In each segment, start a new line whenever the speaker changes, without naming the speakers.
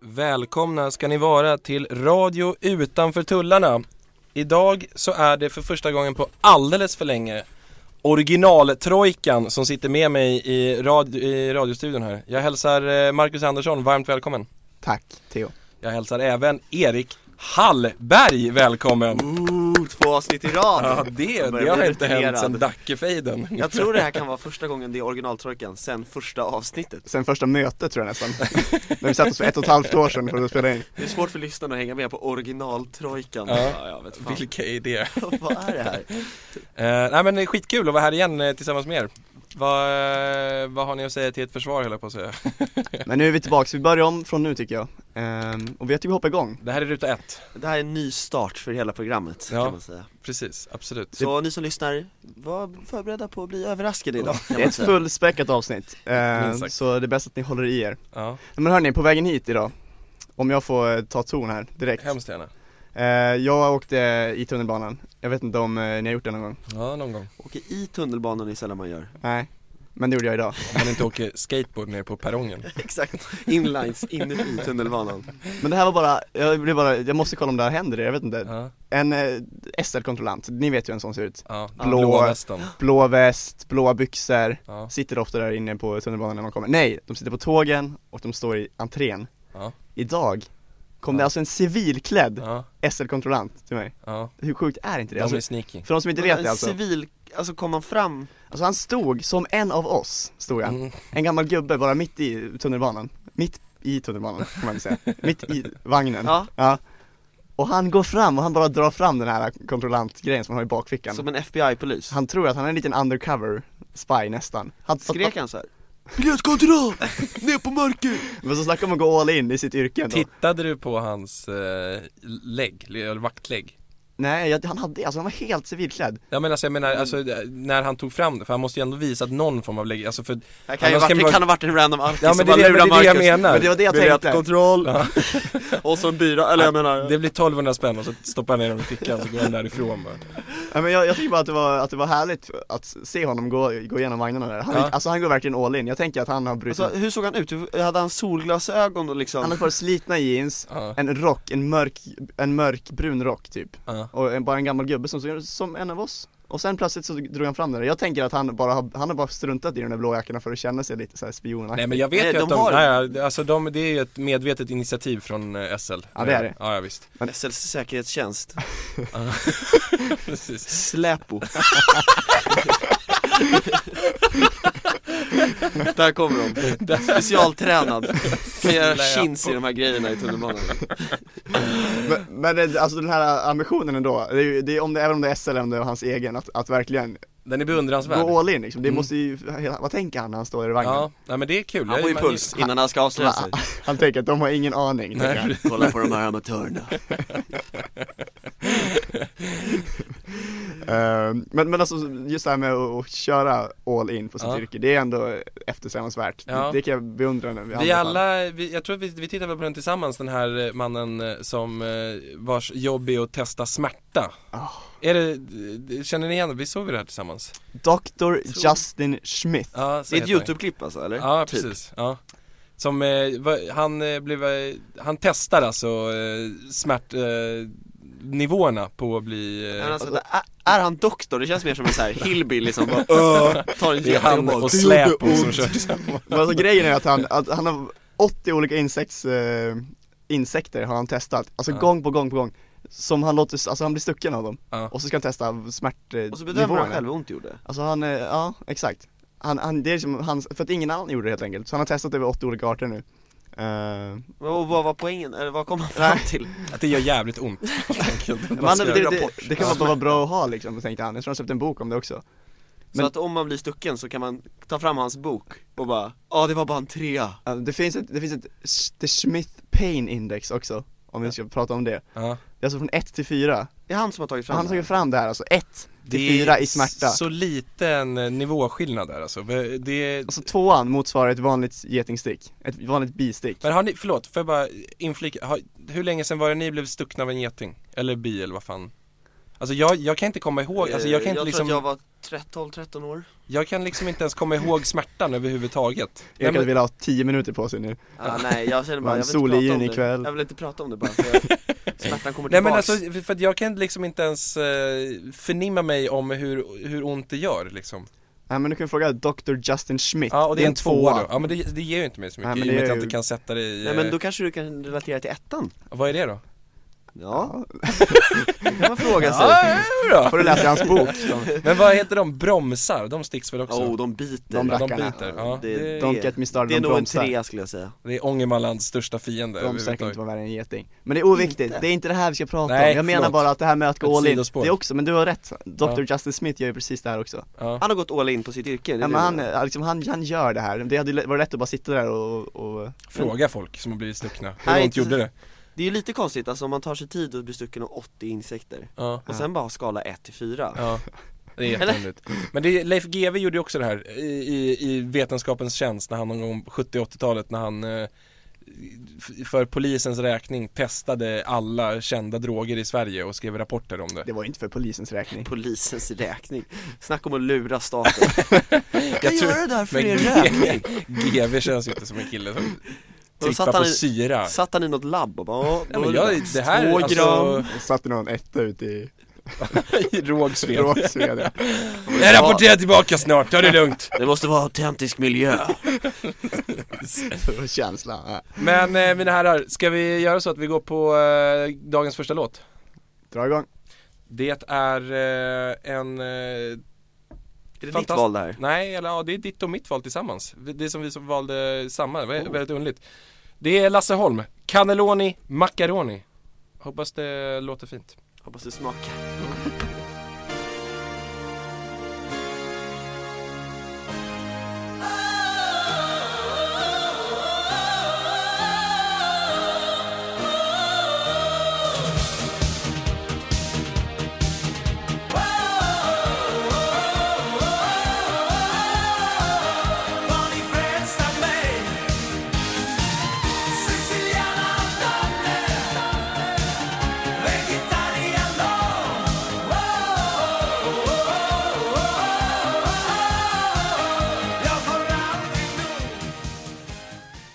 Välkomna ska ni vara till Radio Utanför Tullarna. Idag så är det för första gången på alldeles för länge originaltrojkan som sitter med mig i, radio, i radiostudion här. Jag hälsar eh, Marcus Andersson varmt välkommen.
Tack Theo.
Jag hälsar även Erik Hallberg välkommen.
Ooh, två avsnitt i rad!
Ja det,
Jag börjar
det har
bli
inte hänt
irriterad.
sedan Dackefejden.
Jag tror det här kan vara första gången det är originaltrojkan sen första avsnittet
Sen första mötet tror jag nästan. När vi satt oss för ett och ett halvt år sedan för att spela in.
Det är svårt för lyssnarna att hänga med på originaltrojkan
Ja.
jag vet fan.
Vilka är det?
Vad är det här?
Eh, nej men det är skitkul att vara här igen eh, tillsammans med er. Vad, eh, vad har ni att säga till ett försvar höll jag på att säga.
Men nu är vi tillbaks, vi börjar om från nu tycker jag. Ehm, och vi tycker vi hoppar igång.
Det här är ruta ett.
Det här är en ny start för hela programmet
Ja.
kan man säga
Precis, absolut.
Så ni som lyssnar, var förberedda på att bli överraskade idag kan
Det är
man
ett
säga.
fullspäckat avsnitt. Ehm,
Minst sagt.
så det är bäst att ni håller i er.
Ja,
Men hörni, på vägen hit idag. Om jag får eh, ta ton här direkt.
hemskt gärna.
Eh, jag åkte i tunnelbanan. Jag vet inte om eh, ni har gjort det någon gång?
Ja, någon gång.
Åker i tunnelbanan är sällan man gör
Nej. Men det gjorde jag idag.
Om man inte åker skateboard ner på perrongen.
Exakt, inlines inuti tunnelbanan
Men det här var bara, jag blev bara, jag måste kolla om det här händer, jag vet inte.
Ja,
En eh, SL-kontrollant, ni vet ju hur en sån ser ut.
ja.
Blå.
blåa västen.
Blå väst, blåa byxor,
Ja.
sitter ofta där inne på tunnelbanan när man kommer. Nej, de sitter på tågen och de står i entrén.
Ja.
Idag kom
Ja.
det alltså en civilklädd
Ja,
SL-kontrollant till mig.
ja.
Hur sjukt är inte det?
De
Alltså,
är sneaky.
för de som inte vet det alltså.
Civil, alltså kom man fram
Alltså han stod som en av oss, stod han.
Mm.
En gammal gubbe bara mitt i tunnelbanan. Mitt i tunnelbanan, kan man väl säga. Mitt i vagnen.
Ja.
Och han går fram och han bara drar fram den här kontrollantgrejen som han har i bakfickan.
som en FBI-polis?
Han tror att han är en liten undercover spy nästan. Han
Skrek han så här?
Biljettkontroll! Ner på mörker! Men så snackar man gå all in i sitt yrke ändå.
Tittade du på hans eh, lägg, eller vaktlägg?
Nej, jag, han hade, alltså han var helt civilklädd.
Ja men alltså jag menar, alltså, när han tog fram det, för han måste ju ändå visa att någon form av lägg, alltså för
Det kan, ju
Annars
varit,
kan
det
det vara-
kan ha varit en random alkis
Ja men
som
det är
bara
det, men
lurar
det, är det jag
Marcus.
menar
Men det var det jag tänkte.
Biljettkontroll,
Ja.
och så en bira, eller jag menar
Det blir 1200 spänn och så stoppar han ner dem i fickan så går han därifrån bara.
Ja, men jag, jag tycker bara att det, var, att det var härligt att se honom gå, gå igenom vagnarna där. Han,
Ja.
Alltså han går verkligen all in, jag tänker att han har brutit
Alltså hur såg han ut? Hur- Hade han solglasögon och liksom?
Han har ett par slitna jeans,
Ja,
en rock, en mörk, en mörkbrun rock typ.
ja.
Och en, bara en gammal gubbe som såg ut som en av oss. Och sen plötsligt så drog han fram den där. Jag tänker att han bara, har- han har bara struntat i de där blå jackorna för att känna sig lite såhär spionaktig.
Nej men jag vet
Nej,
ju att
de
de,
har-
nej, alltså de, det är ju ett medvetet initiativ från eh, SL
Ja, det är det.
Ja, ja visst
SLs säkerhetstjänst,
Precis.
släpo Där kommer de, specialtränad Kan göra
Släpo.
chins i de här grejerna i tunnelbanan
Men, men det, alltså den här ambitionen ändå, det är, ju- det är, om det, även om det är SL eller om det är hans egen, att, att verkligen
Den är beundransvärd
gå all in liksom. Det
Mm.
måste ju, hela- vad tänker han när han står där i vagnen?
Ja, nej men det är kul
Han får ju
Man-
puls innan han ska avslöja sig
Han tänker att de har ingen aning. tänker han.
Nej,
Kolla på de här amatörerna
Ehm, men, men alltså just det här med att, att köra all in på sitt
Ja.
yrke, det är ändå eftersträvansvärt.
Ja.
Det, det kan jag beundra nu.
vi alla, vi, jag tror att vi, vi tittar väl på den tillsammans den här eh, mannen eh, som eh, vars jobb är att testa smärta
Ah.
Är det, d- känner ni igen det? Vi såg ju det här tillsammans
Dr Justin Smith.
Ja, så
Det är ett
heter han.
youtube-klipp alltså eller?
Ja,
Typ.
precis, ja Som, eh, va- han eh, blev, eh, han testar alltså eh, smärt, eh, nivåerna på att bli
Men
eh,
alltså, är, är han doktor? Det känns mer som en så här hillbilly som bara "Åh", tar en
Det är typ han
jättejobbig
och Släpo som kör tillsammans
Men alltså grejen är att han, att han har 80 olika insekts, eh, insekter har han testat, alltså
Ja.
gång på gång på gång Som han låter, s- alltså han blir stucken av dem,
Ja.
och så ska han testa smärtnivåerna
Och så bedömer han själv hur ont det gjorde
Alltså han, eh, ja exakt han, han, det är som hans, för att ingen annan gjorde det helt enkelt, så han har testat över 80 olika arter nu Eh,
Och vad var poängen? Eller vad kom han fram till? alltså,
Att det gör jävligt ont helt enkelt
men han,
ska
det,
göra
det,
rapport.
det, det kan bara vara bra att ha liksom, tänkte han, jag tror han släppte en bok om det också Men-
Så att om man blir stucken så kan man ta fram hans bok och bara Ja det var bara en trea
Eh, Det finns ett, det finns ett, Sch- The Smith Pain Index också, om vi ska prata om det
Ja.
Det är alltså från 1 till 4
Det är han som har tagit fram
Han har
det här.
tagit fram det här alltså, 1 till
Det är
4 i smärta
Så liten eh, nivåskillnad där alltså. För Det,
Alltså tvåan motsvarar ett vanligt getingstick, ett vanligt bistick
men har ni, förlåt, får jag bara inflika, har, hur länge sedan var det ni blev stuckna av en geting? Eller bi eller vad fan? Alltså jag, jag kan inte komma ihåg, alltså jag kan inte
Eh, jag
liksom,
tror att
jag...
jag var 12-13 år
kan liksom inte ens komma ihåg smärtan överhuvudtaget Nej,
Erik
men-
hade velat ha 10 minuter på sig nu
ah, Nej jag känner bara,
Vann
jag vill inte prata om
Solin
det
ikväll.
Jag vill inte prata om det bara för jag, Smärtan kommer
Nej men
tillbaks
alltså, för att jag kan liksom inte ens eh, förnimma mig om hur, hur ont det gör liksom
Nej men du kan ju fråga Dr Justin Schmidt,
Ja och det är en tvåa då, ja men det, det ger ju inte mig så
Nej,
mycket
men
i och
det
med att
är
jag
ju-
inte kan sätta det i,
Nej men då
eh,
kanske du kan relatera till ettan?
vad är det då?
Ja, det kan man fråga sig
Ja, det är bra.
Får du läsa i hans bok
Men vad heter de? Bromsar? De sticks väl också?
Oh, de biter
De
Ja,
rackarna.
biter, ja,
Det-
det,
Don't get me started
Det är
om
nog en
bromsar
trea skulle jag säga
det är Ångermanlands största fiende
Bromsar kan
överhuvudtaget.
inte vara värre än en geting Men det är oviktigt, det är inte det här vi ska prata
Nej,
om Jag menar
förlåt.
bara att det här med att gå
Ett
all in,
sidospår.
det är också, men du har rätt Dr
Ja.
Justin Smith gör ju precis det här också
ja.
Han har gått all in på sitt yrke, det
Nej,
är det
men han,
jag menar.
liksom, han, han gör det här, det hade ju le- varit lätt att bara sitta där och, och
Fråga folk som har blivit stuckna, hur ont
Nej, inte-
gjorde det?
Det är ju lite konstigt, alltså om man tar sig tid och blir stucken av 80 insekter
Ja,
och sen bara skala 1 till 4
ja. Det är jätteonödigt. Men det, Leif GW gjorde ju också det här i, i, i vetenskapens tjänst när han någon gång på 70-80-talet när han eh, f- för polisens räkning testade alla kända droger i Sverige och skrev rapporter om det.
Det var ju inte för polisens räkning
Polisens räkning, snacka om att lura staten Jag kan
tror-
göra det här för
Men
er
G-
räkning
GW känns ju inte som en kille som
satt
trippar
han
på
i-
syra.
Satt han i något labb och bara, "Åh,
Ja,
då är
men
det
jag, det här,
Två
alltså,
Det satt någon etta ute i
i Rågsved.
Rågsvede
Jag rapporterar tillbaka snart, ta det lugnt.
bra." Det måste vara autentisk miljö
Det var känslan, ja.
Men eh, mina herrar, ska vi göra så att vi går på eh, dagens första låt?
dra igång
Det är eh, en... Eh,
Är det ditt
Fantastiskt.
val det här?
nej, eller ja, det är ditt och mitt val tillsammans. Det är som vi som valde samma, det var
Oh.
väldigt underligt. Det är Lasse Holm, Cannelloni Macaroni. Hoppas det låter fint.
Hoppas det smakar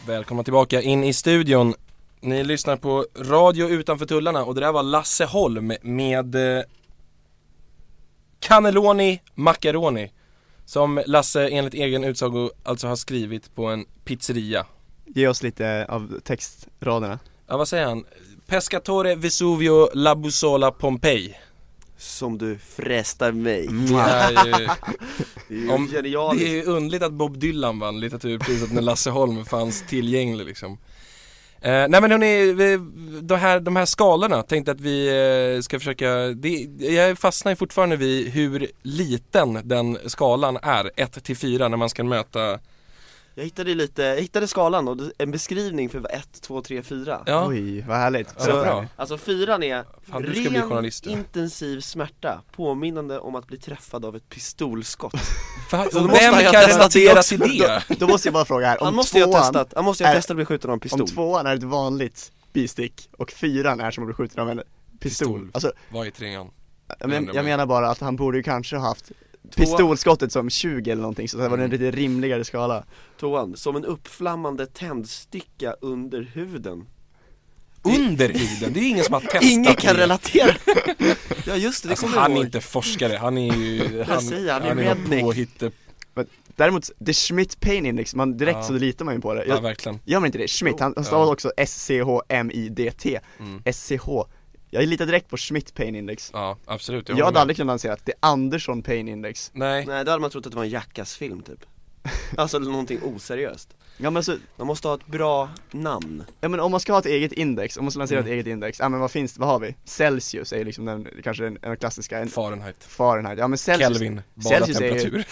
Välkomna tillbaka in i studion. Ni lyssnar på Radio Utanför Tullarna och det där var Lasse Holm med eh, Cannelloni Macaroni. Som Lasse enligt egen utsago alltså har skrivit på en pizzeria.
Ge oss lite av textraderna
Ja vad säger han? Pescatore Vesuvio La Bussola Pompeji.
Som du frestar mig
Det är ju,
Det är ju
Om-
genialiskt
det är ju underligt att Bob Dylan vann litteraturpriset när Lasse Holm fanns tillgänglig liksom. Eh, nej men hörni, vi, de, här, de här skalorna tänkte att vi eh, ska försöka, det, jag fastnar ju fortfarande vid hur liten den skalan är, 1 till 4 när man ska möta,
Jag hittade lite, jag hittade skalan och det- en beskrivning för 1, 2, 3, 4
ja,
Oj, vad härligt
ja vad bra.
Alltså fyran är
Fan, du ska bli
ren
journalist, du.
intensiv smärta påminnande om att bli träffad av ett pistolskott
Va,
Så då
och
måste
vem
han ju ha
kan
testat det
relatera
också.
till det?
Då måste jag bara fråga här, om
Han måste ju ha
tvåan-
testat, han måste ju ha
är-
Äh,
testat att bli skjuten av en pistol
Om tvåan är ett vanligt bistick och fyran är som att bli skjuten av en
Pistol.
pistol. Alltså,
Vad är trean?
jag,
Ändrar
men,
mig.
jag menar bara att han borde ju kanske ha haft pistolskottet som 20 eller någonting, så det var en
Mm.
lite rimligare skala.
Tvåan, som en uppflammande tändsticka under huden
Under huden, det är ingen som har testat
Ingen kan
det.
relatera! ja just det, det
Alltså,
kommer
han
jag
är
ihåg
inte forskare, han är ju, han,
säger, han är
någon
redneck.
påhitte,
Men, däremot, the Schmidt Pain Index, man direkt
Ja.
så litar man ju på det.
ja
Jag,
verkligen
gör man inte det? Schmidt, han, han stavar
Ja. Mm.
också S-C-H-M-I-D-T. S-C-H. Jag litar direkt på Schmidt Pain Index.
Ja, absolut,
Jag,
håller
hade
med.
aldrig kunnat lansera att det är Andersson Pain Index.
Nej,
Nej då hade man trott att det var en Jackass-film typ Alltså någonting oseriöst
Ja men alltså,
Man måste ha ett bra namn
Ja men om man ska ha ett eget index, om man ska lansera
Mm.
ett eget index, ja men vad finns vad har vi? Celsius är liksom den, kanske den, den klassiska, en
Fahrenheit
Fahrenheit, ja men Celsius
Kelvin, bara
Celsius är-
temperatur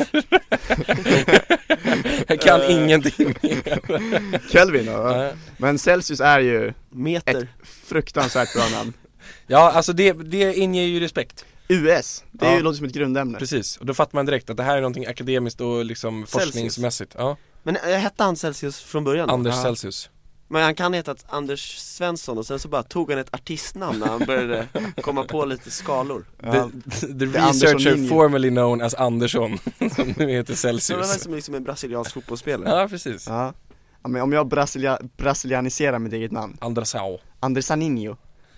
Jag kan
Eh.
ingenting
Kelvin ja.
Nej.
Men Celsius är ju
Meter
ett fruktansvärt bra namn
Ja, alltså det, det inger ju respekt
US, det är
Ja.
ju, låter som ett grundämne
Precis, och då fattar man direkt att det här är någonting akademiskt och liksom
Celsius.
forskningsmässigt ja.
Men eh, hette han Celsius från början? då?
Anders
Ja.
Celsius
Men han kan heta Anders Svensson och sen så bara tog han ett artistnamn när han började komma på lite skalor
Ja.
The, the
Det är Andersson
researcher
linje.
formerly known as Andersson, som nu heter
Så det var
Celsius
som liksom en brasiliansk fotbollsspelare
Ja, precis
Ja. ja men om jag brasilia, brasilianiserar mitt eget namn,
Andrasao
Andersaninho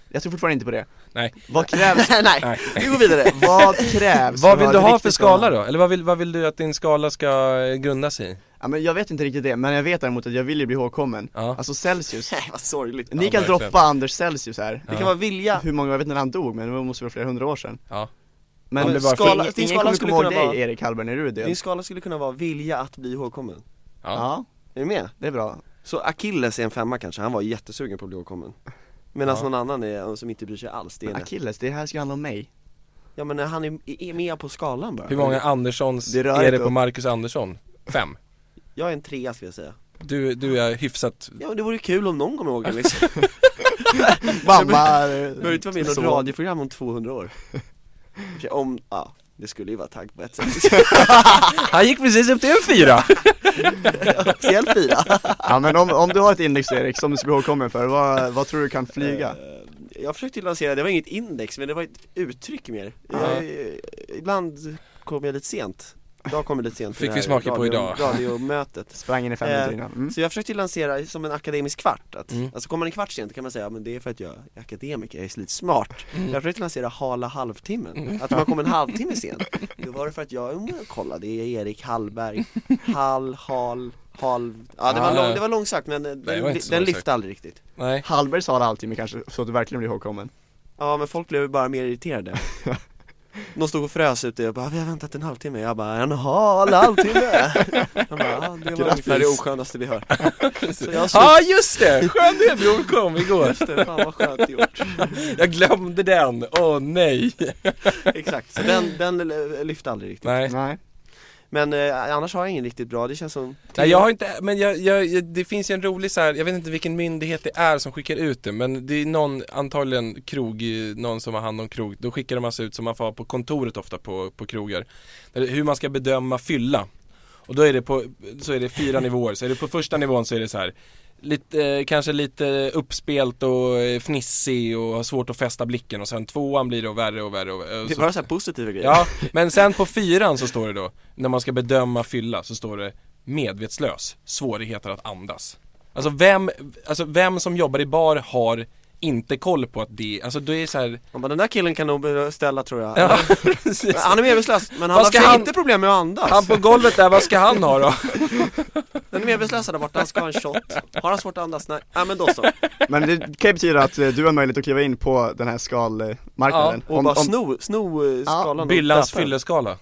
Jag tror fortfarande inte på det
Nej,
Vad krävs?
Nej,
nej
vi går vidare
vad krävs?
Vad
för
vill
att
du
ha ett
ha för
riktigt
skala
namn?
då? Eller vad vill, vad vill du att din skala ska eh, grundas i?
Ja, men jag vet inte riktigt det, men jag vet däremot att jag vill ju bli ihågkommen
Ja.
Alltså Celsius
Nej vad sorgligt
Ni
Ja,
kan
verkligen.
droppa Anders Celsius här
Det kan vara vilja
Hur många, jag vet inte när han dog men det måste vara flera hundra år sedan
Ja,
Men,
Ja, men bara-
skala,
Din
ingen
skala
kommer
skulle
komma ihåg
kunna
dig
vara-
Erik Hallberg när du är död
Din skala skulle kunna vara vilja att bli ihågkommen
ja,
Ja,
Är du med?
det är bra
Så Achilles är en femma kanske, han var jättesugen på att bli ihågkommen Medan
Ja.
någon annan är, som inte bryr sig alls, det är
Men
en
Achilles, det här ska handla om mig
Ja men han är, är med på skalan bara
Hur många Anderssons
Det rör
är det
inte
på
upp.
Marcus Andersson? Fem?
Jag är en trea skulle jag säga
Du, du är hyfsat
Ja men det vore kul om någon kom ihåg en liksom
Mamma
Behöver inte vara med i något
Så.
radioprogram om 200 år Okej, Om, ja, det skulle ju vara tagg på ett sätt
Han gick precis upp till en fyra!
Officiell fyra
Ja men om, om du har ett index Erik som du ska bli ihågkommen för, vad, vad tror du kan flyga?
Eh, Jag försökte lansera, det var inget index men det var ett uttryck mer jag, eh, Ibland kom jag lite sent Idag kom jag lite sent till
Fick
det
vi
här
smaka på
radio-
idag.
Radiomötet
Sprang in i fem
Eh,
minuter innan mm.
Så jag försökte lansera som en akademisk kvart, att,
Mm.
alltså kommer man en kvart sent kan man säga, "Ja, men det är för att jag är akademiker, jag är lite smart
Mm.
Jag försökte lansera hala halvtimmen, att man kom en halvtimme sent Då var det för att jag, "Mm, kolla det är Erik Hallberg, hall, hal, halv Ja det var,
Ah,
lång,
ja.
det var långsökt men eh,
det
den,
var inte så
den
långsökt.
lyfte aldrig riktigt
Nej,
Hallberg sa det alltid men kanske så att du verkligen blir ihågkommen
Ja men folk blev bara mer irriterade Någon stod och frös ute och bara, vi har väntat en halvtimme, jag bara, en hal halvtimme Jag bara, ja, det var ungefär det oskönaste vi hör Så jag
Ja ah, just det! Skönt det, Bror kom igår!
slutade, fan vad skönt gjort
Jag glömde den, åh nej!
Exakt, så den, den l- lyfte aldrig riktigt
Nej,
Nej
Men eh, annars har jag ingen riktigt bra, det känns som
nej jag har inte, men jag, jag, jag- det finns ju en rolig så här, jag vet inte vilken myndighet det är som skickar ut det men det är någon, antagligen krog, eh, någon som har hand om krog, då skickar de alltså ut som man får ha på kontoret ofta på, på krogar Där det- Hur man ska bedöma fylla Och då är det på, så är det fyra nivåer, så är det på första nivån så är det så här Lite, eh, kanske lite uppspelt och eh, fnissig och har svårt att fästa blicken och sen tvåan blir då värre och värre och, och
Det är bara så här positiva grejer
Ja, men sen på fyran så står det då, när man ska bedöma fylla, så står det medvetslös, svårigheter att andas. Alltså vem, alltså vem som jobbar i bar har inte koll på att det, alltså det är så här,
Man bara, den där killen kan nog be- ställa tror jag
ja,
Men
precis.
Han är medvetslös, men han
Vad
har
ska
för
han-
inte problem med att andas
Han på golvet där, vad ska han ha då?
Den är medvetslös där borta, han ska ha en shot Har han svårt att andas? Nej, ja, men då så
Men det kan ju betyda att eh, du har möjlighet att kliva in på den här skalmarknaden
Och bara sno, sno eh,
Ja,
skalan och
Byllans
döpa den.
fylleskala.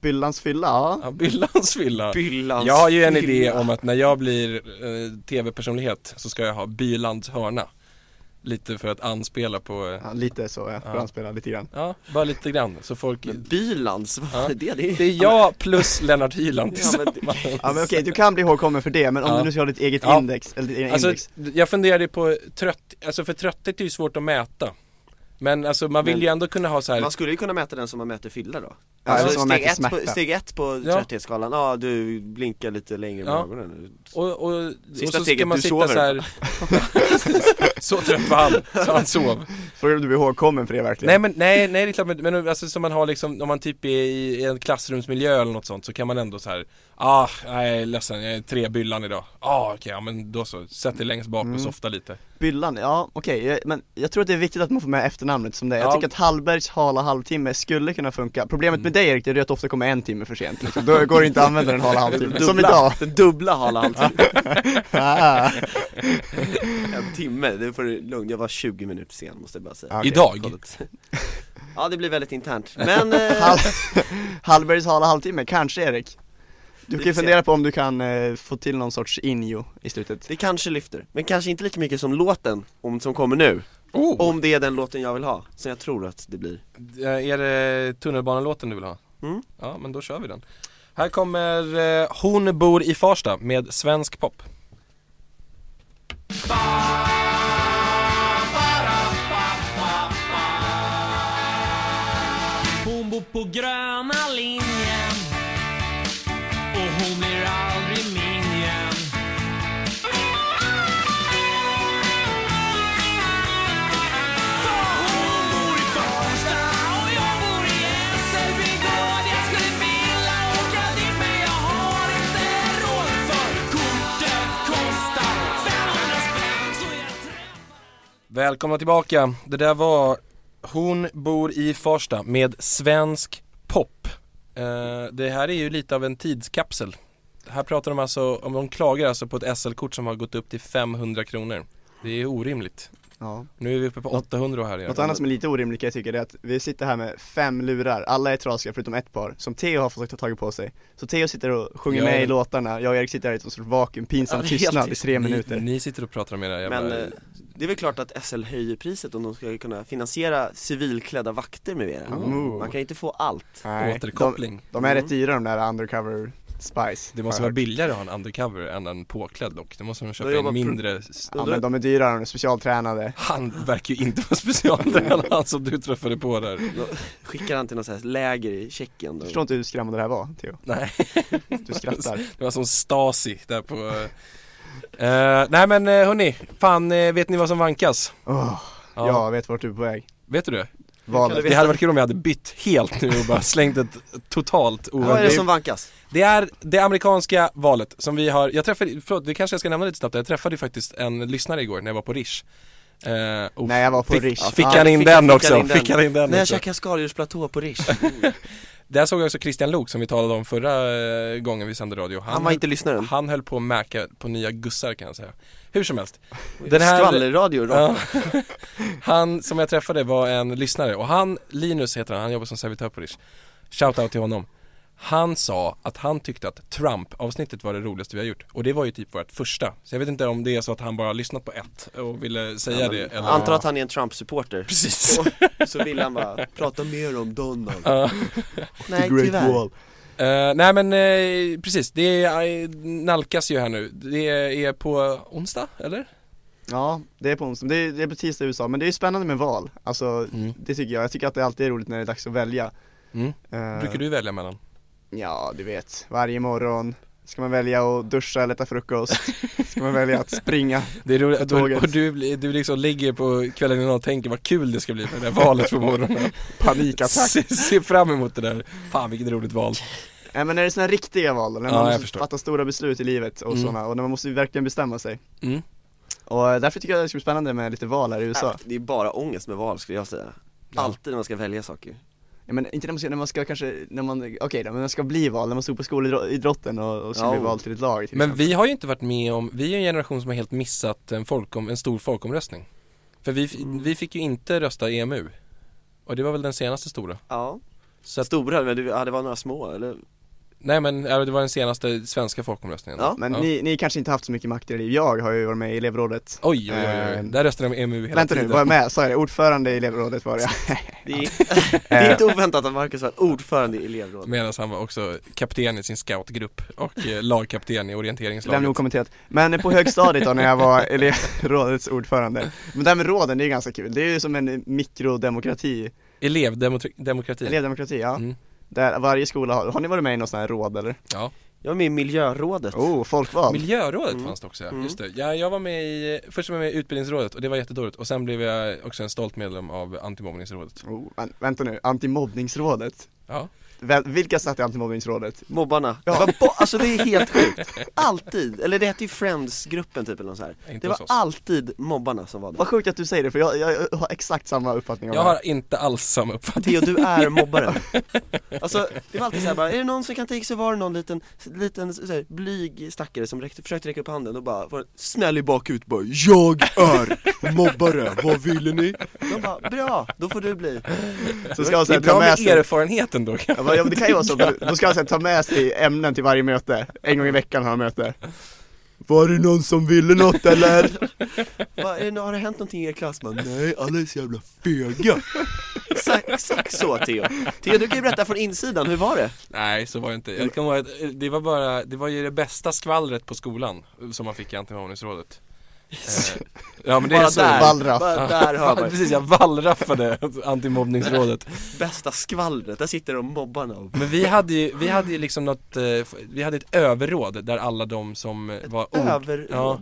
Byllans fylla, ja
Ja, Byllans fylla.
Byllans
Jag har ju en idé
fylla.
om att när jag blir eh, tv-personlighet så ska jag ha Bylands hörna. Lite för att anspela på, eh,
Ja, lite så ja,
Ja.
får han spela lite grann
ja, bara lite grann så folk
Men Bylans, vad fan
Ja.
är det? Det är,
Det är jag plus Lennart Hyland
Ja, men det-
tillsammans.
Ja men okej, du kan bli ihågkommen för det, men om
Ja.
du nu ska ha ditt eget
Ja.
index, eller ditt eget
Alltså,
index
jag funderade på trött, alltså för trötthet är ju svårt att mäta. Men alltså man vill
Men-
ju ändå kunna ha så här.
Man skulle ju kunna mäta den som man mäter fylla då Alltså,
Ja, eller som man
steg,
mäter
ett på,
smärta.
steg ett på
Ja.
trötthetsskalan, ja du blinkar lite längre med
Ja.
ögonen
och, och, och så ska
steget,
man
du
sitta
sover.
så här. så trött var han, så han sov.
Frågar du om du blir ihågkommen för det verkligen?
Nej men nej, nej det är klart, men, men alltså som man har liksom, om man typ är i i en klassrumsmiljö eller något sånt så kan man ändå så här. Ah, nej jag är ledsen, jag är tre byllan idag. Ah okej, ja men då så, sätt dig längst bak
Mm.
och softa lite.
Byllan, ja okej, jag- men jag tror att det är viktigt att man får med efternamnet som det är.
Ja. Mm.
Jag tycker att Hallbergs hala halvtimme skulle kunna funka Problemet med dig Erik, det är att du ofta kommer en timme för sent liksom. Då går det inte att använda den hala halvtimmen, som
Dubbla-
idag
Den dubbla hala halvtimmen,
Ah.
en timme, det får du lugnt, jag var 20 minuter sen måste jag bara säga
Ja. Okej,
Idag.
Kollat. Ja det blir väldigt internt, men eh,
Hall- Hallbergs hala halvtimme, kanske Erik Du
Vi
kan ju
får se.
fundera på om du kan eh, få till någon sorts injo i slutet
det kanske lyfter, men kanske inte lika mycket som låten om, som kommer nu
Oh.
Om det är den låten jag vill ha, som jag tror att det blir
Eh, Är det tunnelbanelåten du vill ha?
Mm.
Ja, men då kör vi den. Här kommer eh, Hon bor i Farsta med svensk pop.
Hon bor på gröna linjen Och hon blir aldrig min igen
Välkomna tillbaka. Det där var Hon bor i Farsta med svensk pop. Eh, det här är ju lite av en tidskapsel. Här pratar de alltså, om de klagar alltså på ett SL-kort som har gått upp till 500 kronor. Det är orimligt.
Ja.
Nu är vi uppe på 800 här igen.
Något annat som är lite orimligt kan jag tycka det är att vi sitter här med fem lurar, alla är trasiga förutom ett par, som Theo har fått ta tag på sig Så Theo sitter och sjunger
Ja.
med i låtarna, jag och Erik sitter här i ett sorts vakuum, pinsam
Ja, det är helt
tystnad i
tyst.
tre
Ni,
minuter
ni sitter och pratar om era jävla...
Men eh, det är väl klart att SL höjer priset om de ska kunna finansiera civilklädda vakter med era
Oh.
Man kan inte få allt
eh,
återkoppling.
De är
Mm.
rätt dyra de där undercover spice
Det
har
måste
jag
vara
hört.
billigare att ha en undercover än en påklädd dock. Det måste man köpa
Då
en
jobbar pro-
mindre... s-
Ja men de är dyra, de är
Mm.
specialtränade
Han verkar ju inte vara specialtränad han som du träffade på där.
Skickar han till något så här läger i Tjeckien
Du
då?
förstår inte hur skrämmande det här var Theo,
Nej,
du skrattar
det var som Stasi där på... eh, nej men eh, hörni, fan eh, vet ni vad som vankas?
Åh, ja. jag vet vart du är på väg
Vet du det?
Valet,
Det hade varit kul om jag hade bytt helt nu och bara slängt ett totalt
Vad är det
oväntat.
som vankas?
Det är det amerikanska valet som vi har, jag träffade, förlåt det kanske jag ska nämna lite snabbt, jag träffade ju faktiskt en lyssnare igår när jag var på Rish Eh, och
när jag var på
fick,
Rish
Fick
Ja,
han in
fick-
den
fick han
också,
in den.
fick han in den
När jag
också.
käkade skaldjursplatå på Rish
Där såg jag också Christian Lok som vi talade om förra eh, gången vi sände radio.
Han var inte lyssnaren
han höll på att mäka på nya gussar kan jag säga. Hur som helst.
Den här... Skvallerradio rakt
Ja. Han som jag träffade var en lyssnare och han, Linus heter han, han jobbar som servitör på Rish Shoutout till honom Han sa att han tyckte att Trump-avsnittet var det roligaste vi har gjort och det var ju typ vårt första Så jag vet inte om det är så att han bara har lyssnat på ett och ville säga det eller
Antar att han är en Trump-supporter
Precis
Och så vill han bara prata mer om Donald
Ja.
Nej
Great
tyvärr
Wall
Eh, nej men eh, precis, det är, eh, nalkas ju här nu. Det är på onsdag, eller?
Ja, det är på onsdag, det är, det är på tisdag i USA, men det är ju spännande med val Alltså,
Mm.
det tycker jag, jag tycker att det alltid är roligt när det är dags att välja
Mm.
Eh,
Brukar du välja mellan?
Ja, du vet, varje morgon ska man välja att duscha eller äta frukost Ska man välja att springa
Det är roligt, och,
Tåget.
och du, blir- du liksom ligger på kvällen innan och tänker vad kul det ska bli med det där valet på morgonen.
Panikattack
Se, se fram emot det där. Fan vilket roligt val.
Nej men när det är sådana riktiga val, när man
Ja, jag
måste
förstår.
fatta stora beslut i livet och
Mm.
sådana, och när man måste verkligen bestämma sig
Mm.
Och eh, därför tycker jag det ska bli spännande med lite val här i USA
Nej, Det är bara ångest med val skulle jag säga
Ja.
Alltid när man ska välja saker
ja, men inte när man ska, när man ska kanske, när man, okej då, men när man ska bli val, när man stod på skolidrotten och, och ska
Ja.
bli vald till ett lag till
Men
exempel.
vi har ju inte varit med om, vi är en generation som har helt missat en, folkom, en stor folkomröstning. För vi, f- vi fick ju inte rösta EMU. Och det var väl den senaste stora.
Ja
Så att,
Stora, men du, ja, det var några små eller?
nej men eh, det var den senaste svenska folkomröstningen.
Ja.
Men ni, ni kanske inte haft så mycket makt i er liv, jag har ju varit med i elevrådet
Oj, oj, oj, oj.
Ehm,
Eh,
Där röstade de EMU hela
Vänta nu,
tiden.
var jag med? Sa jag det? Ordförande i elevrådet var jag
Det är, det är
Eh.
inte oväntat att Marcus var ordförande i elevrådet
Medan han var också kapten i sin scoutgrupp och eh, lagkapten i
Lämna
orienteringslaget.
okommenterat. Men på högstadiet då när jag var elevrådets ordförande. Men det här med råden, det är ju ganska kul. Det är ju som en mikrodemokrati,
Elevdemokrati.
elevdemokrati ja.
Mm.
Där varje skola har, har ni varit med i någon sån här råd eller?
Ja.
Jag var med i miljörådet
Oh, folkval.
Miljörådet
Mm.
fanns det också, ja.
Mm.
just det. Ja, jag var med i, först var jag med i utbildningsrådet och det var jättedåligt och sen blev jag också en stolt medlem av antimobbningsrådet.
Oh, vän- vänta nu, antimobbningsrådet.
Ja.
Väl, vilka satt i antimobbningsrådet?
Mobbarna,
Ja.
det var bo- alltså det är helt sjukt Alltid, eller det hette ju Friends-gruppen typ eller nåt så här.
Inte
Det
hos
var
oss.
alltid mobbarna som var där
Vad sjukt att du säger det för jag, jag har exakt samma uppfattning om
Jag
det här.
har inte alls samma uppfattning.
Theo, du är mobbaren Alltså, det var alltid såhär bara, är det någon som kan tänka sig vara någon liten, liten så här, blyg stackare som räckte, försökte räcka upp handen och bara får en smäll i bakhuvudet bara Jag är mobbare, vad ville ni? De bara, bra, då får du bli
Så ska jag
Det är
säga,
bra
ta med
med
sig
erfarenheten då.
Ja, men- ja, men det kan ju vara så, men då ska han säga ta med sig ämnen till varje möte, en gång i veckan har han möte Var det någon som ville något eller?
Bara, är det, nå- har det hänt någonting i er klass? Bara, Nej, alla är så jävla fega Exakt- Exakt så Theo Theo, du kan ju berätta från insidan, hur var det?
Nej, så var det inte. Jag kan vara, eh, det var bara, det var ju det bästa skvallret på skolan eh, som man fick i antimobbningsrådet. Eh, ja men det är
Bara
så.
där,
Wallraff.
bara där hör man
Precis, jag wallraffade antimobbningsrådet.
bästa skvallret, där sitter de mobbarna och
Men vi hade ju, vi hade ju liksom något, eh, f- vi hade ett överråd där alla de som eh, var ord,
överråd
Ja.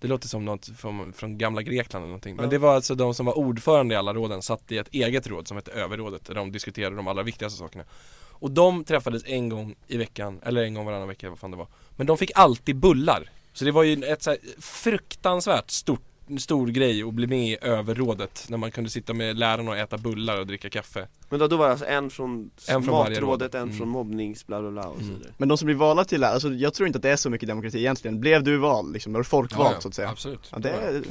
det låter som något från, från gamla Grekland eller någonting Men
Ja.
det var alltså de som var ordförande i alla råden satt i ett eget råd som hette överrådet där de diskuterade de allra viktigaste sakerna Och de träffades en gång i veckan, eller en gång varannan vecka vad fan det var Men de fick alltid bullar Så det var ju ett så här fruktansvärt stort stor grej att bli med i överrådet när man kunde sitta med lärarna och äta bullar och dricka kaffe.
Men då, då var det alltså en från,
En från varje råd.
matrådet, en
Mm.
från mobbnings, bla bla bla och så
Mm.
vidare
Men de som blir valda till lärare, alltså jag tror inte att det är så mycket demokrati egentligen. Blev du vald liksom, var du folkvald så att säga?
Absolut.
Ja, det är,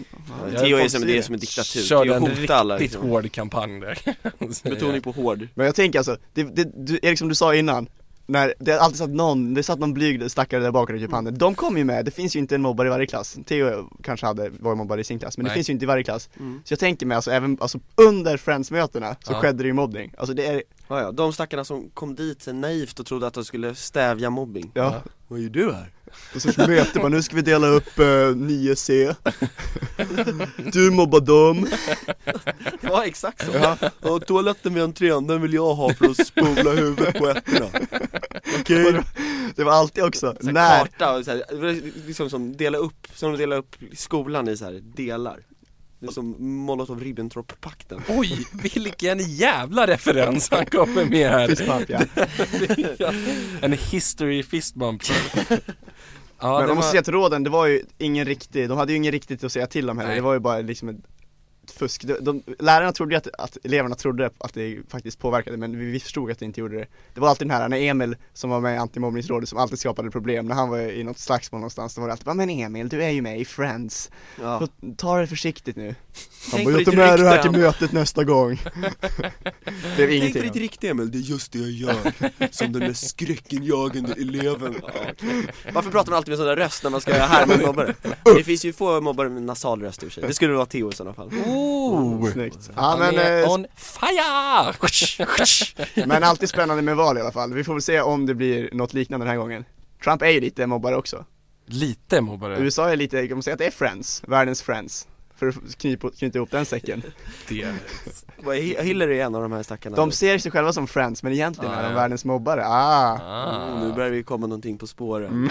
Ja,
Theo är
folk ser
som, det är
det. liksom.
som en diktatur,
Körde
Theo
en
hotar alla
riktigt hård kampanj där. kan jag säga.
Betoning på hård
Men jag tänker alltså, det, det, du, Erik som du sa innan, när det har alltid satt någon, det satt någon blyg stackare där bak och typ handen. De kom ju med, det finns ju inte en mobbare i varje klass. Theo kanske hade, var mobbare i sin klass, men det
Nej.
finns ju inte i varje klass.
mm.
Så jag tänker mig alltså även, alltså under Friends-mötena så
Ja.
skedde det ju mobbning. Alltså det är,
ja, ja, de stackarna som kom dit sen naivt och trodde att de skulle stävja mobbing
ja.
Vad gör du här?
Och så möte bara, nu ska vi dela upp eh, 9C. Du mobbar dem.
Det var exakt så! Ja, och toaletten vid entrén, den vill jag ha för att spola huvudet på ettorna
Okej. Det var alltid också,
så här
när,
karta och så här, det var liksom som dela upp, som de delar upp skolan i så här delar Det är som Molotov-Ribbentrop-pakten
Oj, vilken jävla referens han kommer med här.
fistbump ja.
en history fist bump. Ja,
Men
det
man måste
var-
säga att råden, det var ju ingen riktig, de hade ju ingen riktigt att säga till om heller,
Nej.
det var ju bara liksom ett fusk de, de, Lärarna trodde ju att, att eleverna trodde att det faktiskt påverkade men vi, vi förstod att det inte gjorde det Det var alltid den här, när Emil som var med i antimobbningsrådet som alltid skapade problem, när han var i något slagsmål någonstans då var det alltid bara, men Emil du är ju med i Friends,
ja.
så ta det försiktigt nu Han
Tänk
bara,
på
jag tar
ditt
med det här
rykte,
till mötet nästa gång Det blev
Tänk på
ingenting
ditt
av.
rykte Emil, det är just det jag gör, som den där skräckenjagande eleven Varför pratar man alltid med sån där röst när man ska härma en mobbare? Det finns ju få mobbare med nasal röst i och för sig, det skulle vara Theo i sådana fall
Oh,
Snyggt. Ja,
han
men,
är
eh,
on fire!
Men alltid spännande med val i alla fall. Vi får väl se om det blir något liknande den här gången. Trump är ju lite mobbare också.
Lite mobbare.
USA är lite, kan man säga att det är friends, världens friends. För att knyta, knyta ihop den säcken.
Det.
Vad är- Hillary är en av de här stackarna
De ser sig själva som friends, men egentligen
Ah,
är de
ja.
världens mobbare. Ah.
Ah.
Mm, Nu börjar vi komma någonting på spåren
Mm,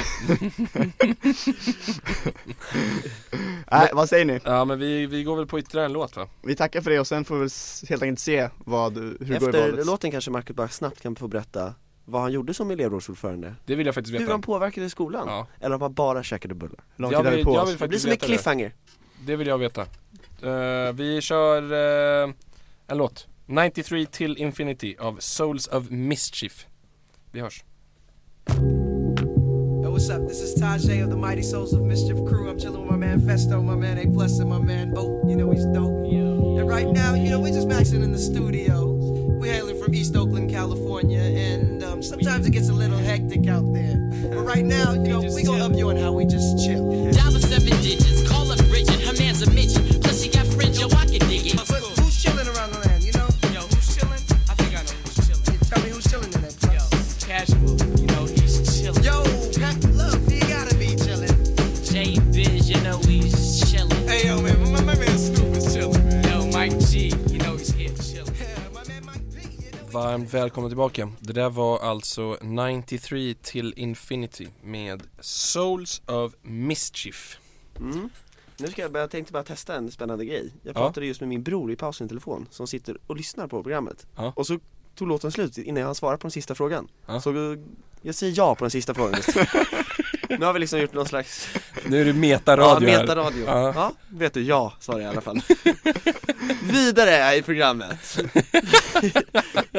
Nej, Äh, vad säger ni?
Ja men vi, vi går väl på ytterligare en låt va?
Vi tackar för det och sen får vi väl s- helt enkelt se vad, hur det går i
Efter
valet.
låten kanske Marcus bara snabbt kan få berätta vad han gjorde som elevrådsordförande
Det vill jag faktiskt
Hur han
veta
påverkade skolan,
Ja.
eller om han bara käkade bullar
Hur lång
jag
tid har vi
vill-
på
jag
oss?
vill-
Det blir
faktiskt
som en
veta det.
cliffhanger
Det vill jag veta Eh, Vi kör eh, en låt 93 till Infinity av Souls of Mischief Vi hörs
Yo, what's up? This is Tajay of the Mighty Souls of Mischief crew. I'm chilling with my man Festo, my man A Plus, and my man Bo. You know he's dope. And right now, you know, we're just maxing in the studio. We're hailing from East Oakland, California, and um, sometimes it gets a little hectic out there. But right now, you know, we gonna up you on how we just chill.
Dollar seven digits, call up Bridget, her man's a midget. Plus she got fringe, yo, I can dig it.
But who's chilling around the land? You know,
Yo, who's chilling? I think I know who's chilling.
tell me who's chilling in that
Yo,
place.
casual, you know he's chilling.
Yo, Pat Love, he gotta be chilling.
J Biz, you know he's chillin'.
Hey, yo, man, my, my man Snoop is chilling, man.
Yo, Mike G, you know he's here chilling.
Yeah, my man Mike P, you know.
Varmt välkomna tillbaka Det där var alltså 93 till Infinity med Souls of Mischief
Mm. Nu ska jag, bara- jag tänkte bara testa en spännande grej. Jag
Ja.
pratade just med min bror i pausen i telefon som sitter och lyssnar på programmet.
Ja.
Och så tog låten slut innan han svarade på den sista frågan.
Ja.
Så eh, jag säger ja på den sista frågan. nu har vi liksom gjort någon slags
Nu är det metaradio
ja,
här
metaradio.
Ja.
Ja. vet du, ja svarade jag i alla fall. Vidare i programmet.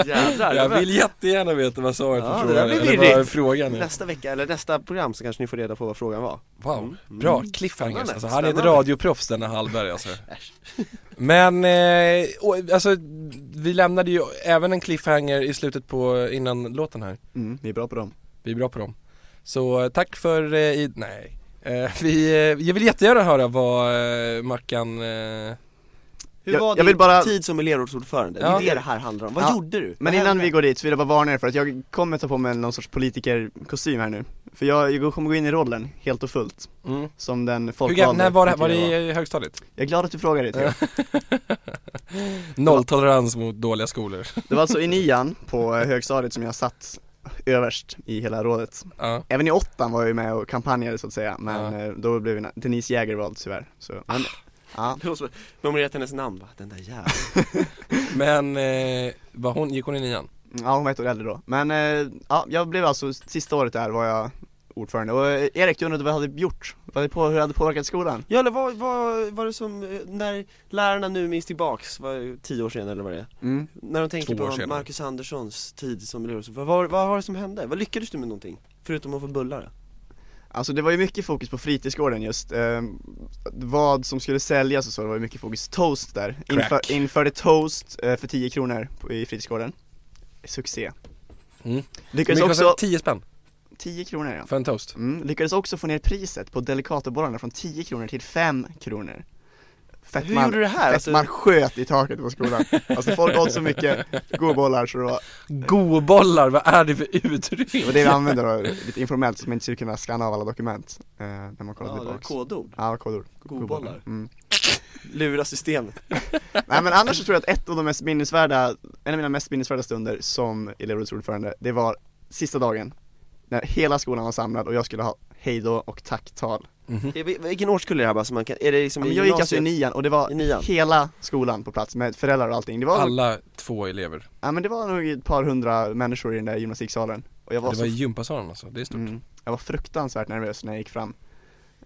Jävlar. det
Jag
var-
vill jättegärna veta vad svaret på
Ja, det
frågan
där blir
eller vad
virrigt.
frågan är
Nästa vecka, eller nästa program så kanske ni får reda på vad frågan var.
Wow, bra cliffhangers
Mm. Spännande,
alltså, han är ett
spännande.
radioproffs denna Hallberg alltså Men, eh, och, alltså vi lämnade ju även en cliffhanger i slutet på, innan låten här
Mm, vi är bra på dem.
Vi är bra på dem Så eh, tack för, eh, i, nej eh, vi, eh, jag vill jättegärna höra vad eh, Mackan, eh,
Hur
Jag-
var
jag
din
vill bara-
tid som elevrådsordförande?
Ja.
Det är det det här handlar om. Vad
Ja.
gjorde du?
Men innan vi går dit så vill jag bara varna er för att jag kommer ta på mig någon sorts politikerkostym här nu. För jag, jag kommer gå in i rollen, helt och fullt,
mm.
som den
Hur,
folkvalde
gam- när var det, här? var det
jag
i högstadiet?
Jag är glad att du frågade Theo.
Nolltolerans mot dåliga skolor
Det var alltså i nian på eh, högstadiet som jag satt överst i hela rådet.
Ja,
Även i åttan var jag ju med och kampanjade så att säga, men
Ja. Ah.
eh, då blev vi- Denise Jäger vald tyvärr. Så, men, ja.
Memorerat hennes namn va? Den där jäveln
men, eh, var hon, gick hon i nian?
ja, hon var ett år äldre då. Men eh, ja, jag blev alltså, sista året där var jag ordförande. Och eh, Erik, du undrade vad hade gjort? Vad hade på, hur hade det påverkat skolan?
Ja eller vad, vad var det som, eh, när lärarna nu minns tillbaks, var, tio år senare eller vad det är?
Mm.
När de tänker
Två år
på
senare.
Marcus Anderssons tid som lärare, så vad, vad, vad var det som hände? Vad lyckades du med någonting? Förutom att få bullar?
Alltså det var ju mycket fokus på fritidsgården just, Ehm, vad som skulle säljas och så, det var ju mycket fokus toast där. Inför,
Crack.
införde toast eh, för 10 kronor på, i fritidsgården. Succé.
Mm.
Lyckades
Men också...
också,
10 alltså, spänn
10 kronor ja.
för en toast.
Mm. Lyckades också få ner priset på Delicatobollarna från 10 kronor till 5 kronor. Fett
Hur
man,
gjorde du det här?
Fett
Alltså-
man sköt i taket på skolan. alltså folk åt så mycket goda bollar så det var,
Godbollar, vad är det för uttryck?
det var det vi använde då, lite informellt så man inte skulle kunna scanna av alla dokument eh, när man kollade
Ja, det var
tillbaks.
kodord,
Ja, kodord.
godbollar,
Mm.
lura systemet
Nej men annars så tror jag att ett av de mest minnesvärda, en av mina mest minnesvärda stunder som elevrådsordförande, det var sista dagen. När hela skolan var samlad och jag skulle ha hejdå och tacktal.
Eh, vil- Vilken årskull är det här bara så man kan, är det liksom
Ja,
i
men jag gick alltså i
gymnasiet?
nian och det var
I nian?
hela skolan på plats med föräldrar och allting. Det var,
Alla två elever.
ja, men det var nog ett par hundra människor i den där gymnastiksalen. Och jag var,
Det var i
så,
gympasalen alltså, det är stort.
mm, jag var fruktansvärt nervös när jag gick fram.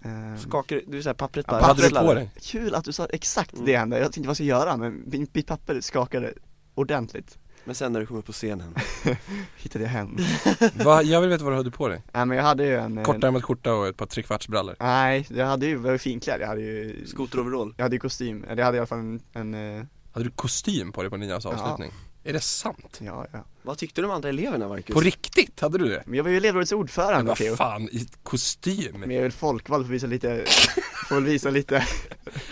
Ehm,
Skakar du såhär pappret bara?
Vad hade du på
rasslar?
dig? Mm.
kul att du sa exakt det hände, jag tänkte vad ska jag göra men min- mitt papper skakade ordentligt.
Men sen när du kom upp på scenen,
Hittade jag hem.
Mm. Va, jag vill veta vad du hade på dig.
Nej men jag hade ju en eh,
Kortärmad skjorta och ett par trekvartsbrallor.
Nej, jag hade ju, jag var ju finklädd, jag hade ju
skoteroverall
Jag hade ju kostym, eller jag hade i alla fall en, en eh,
Hade du kostym på dig på nians avslutning? Är det sant?
ja, ja
Vad tyckte de andra eleverna Marcus?
På riktigt, hade du det?
Men jag var ju elevrådets
Men
ordförande
vad
Theo
fan, i kostym?
Men jag är väl folkvald för att visa lite, får väl visa lite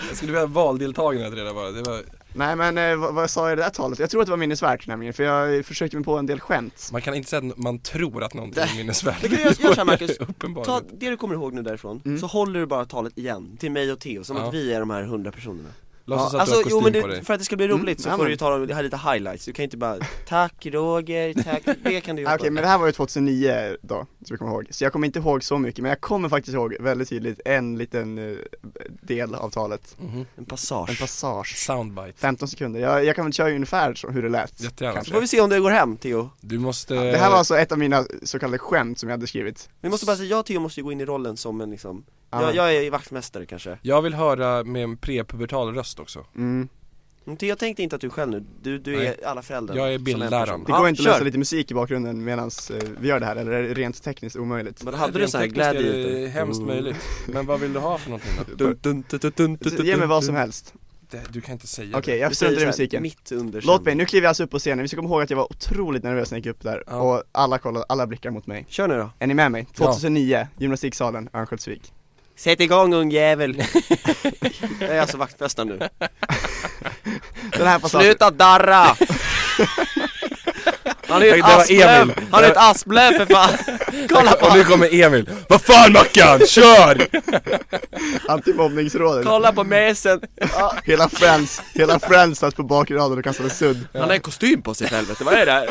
Jag skulle vilja ha valdeltagarna till det där bara, det var...
Nej men eh, vad, vad sa jag i det där talet? Jag tror att det var minnesvärt nämligen, för jag försökte mig på en del skämt
Man kan inte säga att man tror att någonting är minnesvärt
Men kan jag göra så här, Marcus? Ta
Uppenbarligen
det du kommer ihåg nu därifrån, så håller du bara talet igen till mig och Theo, som
Ja.
att vi är de här hundra personerna
Låtsas att du
Alltså
har
jo
kostym
men
på
det,
dig
för att det ska bli roligt så
ja,
får
men-
du ju ta de här lite highlights, du kan inte bara 'Tack Roger, tack' Det kan du
Ah,
göra
Okej, men det här var ju 2009 då, som jag kommer ihåg Så jag kommer inte ihåg så mycket, men jag kommer faktiskt ihåg väldigt tydligt en liten eh, del av talet
En
En
passage
passage
Soundbite
15 sekunder, jag, jag kan väl köra ungefär så, hur det lät
Jättegärna.
Så får vi se om det går hem Theo
Du måste
Det här var alltså ett av mina så kallade skämt som jag hade skrivit
Vi måste bara säga, jag och Theo måste ju gå in i rollen som en liksom,
Ja,
jag,
men-
jag är vaktmästare kanske
Jag vill höra med en prepubertal röst också
Mm.
Men Theo, jag tänkte inte att du själv nu, du, du är
Nej.
alla föräldrar
Jag är
som en
bildläraren.
person.
Det
Ja,
går inte att
kör.
lösa lite musik i bakgrunden medan eh, vi gör det här, eller är det rent tekniskt omöjligt?
Men hade du
Rent
såhär
tekniskt är
glädje Mm. Oh.
det hemskt möjligt Men vad vill du ha för någonting då?
Så Ge mig vad som helst.
Det, du kan inte säga
Okej,
det
jag struntar i musiken.
Mitt under
Låt mig, nu kliver jag alltså upp på scenen, vi ska komma ihåg att jag var otroligt nervös när jag gick upp där
Ja.
och alla kollade, alla blickar mot mig.
Kör nu då
Är ni med mig? 2009, gymnastiksalen, Örnsköldsvik.
Sätt igång ungjävel Jag är alltså vaktmästare nu
Den här passagen,
Sluta darra! Han är ju
Det
ett
var
asplöv!
Emil.
Han är ett asplöv för fan! Kolla på
Och nu
honom!
kommer Emil Vad fan Mackan, kör!
antimobbningsrådet.
Kolla på mesen! Ja,
Hela Friends, hela Friends satt på bakraden och kastade sudd.
Han har en kostym på sig för helvete, vad är det här?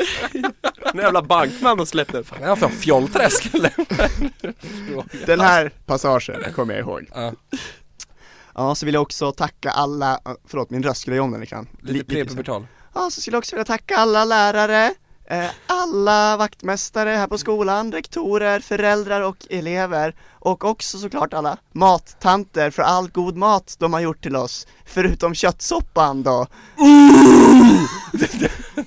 En jävla bankman de släppte
Han är från Fjollträsk eller?
Den här passagen kommer jag ihåg.
Ja.
Ja, så vill jag också tacka alla, ah, förlåt min röst skulle jag göra om den lite grann. Li-
Lite prepubertal
Ja, så skulle jag också vilja tacka alla lärare, eh, alla vaktmästare här på skolan, rektorer, föräldrar och elever och också såklart alla mattanter för all god mat de har gjort till oss, förutom köttsoppan då.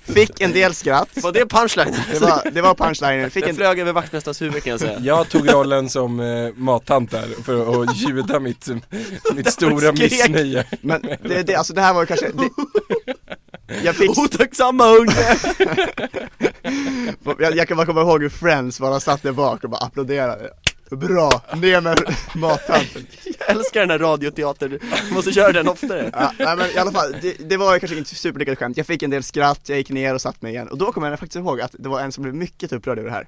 Fick en del skratt,
Var det punchline?
det var, det var punchlinen, fick
Den
en
flög över vaktmästarens huvud kan jag säga
Jag tog rollen som eh, mattant där för att ljuda mitt, mitt stora
skrek.
missnöje
men det, det, alltså det här var ju kanske, det, jag fick,
Otacksamma unge!
jag, jag kan bara komma ihåg hur Friends bara satt där bak och bara applåderade Bra, ner med mattanten
Jag älskar den här radioteatern, Du måste köra den oftare
Ja, nej men i alla fall, det, det var ju kanske inte superlyckat skämt, jag fick en del skratt, jag gick ner och satt mig igen och då kommer jag faktiskt ihåg att det var en som blev mycket upprörd över det här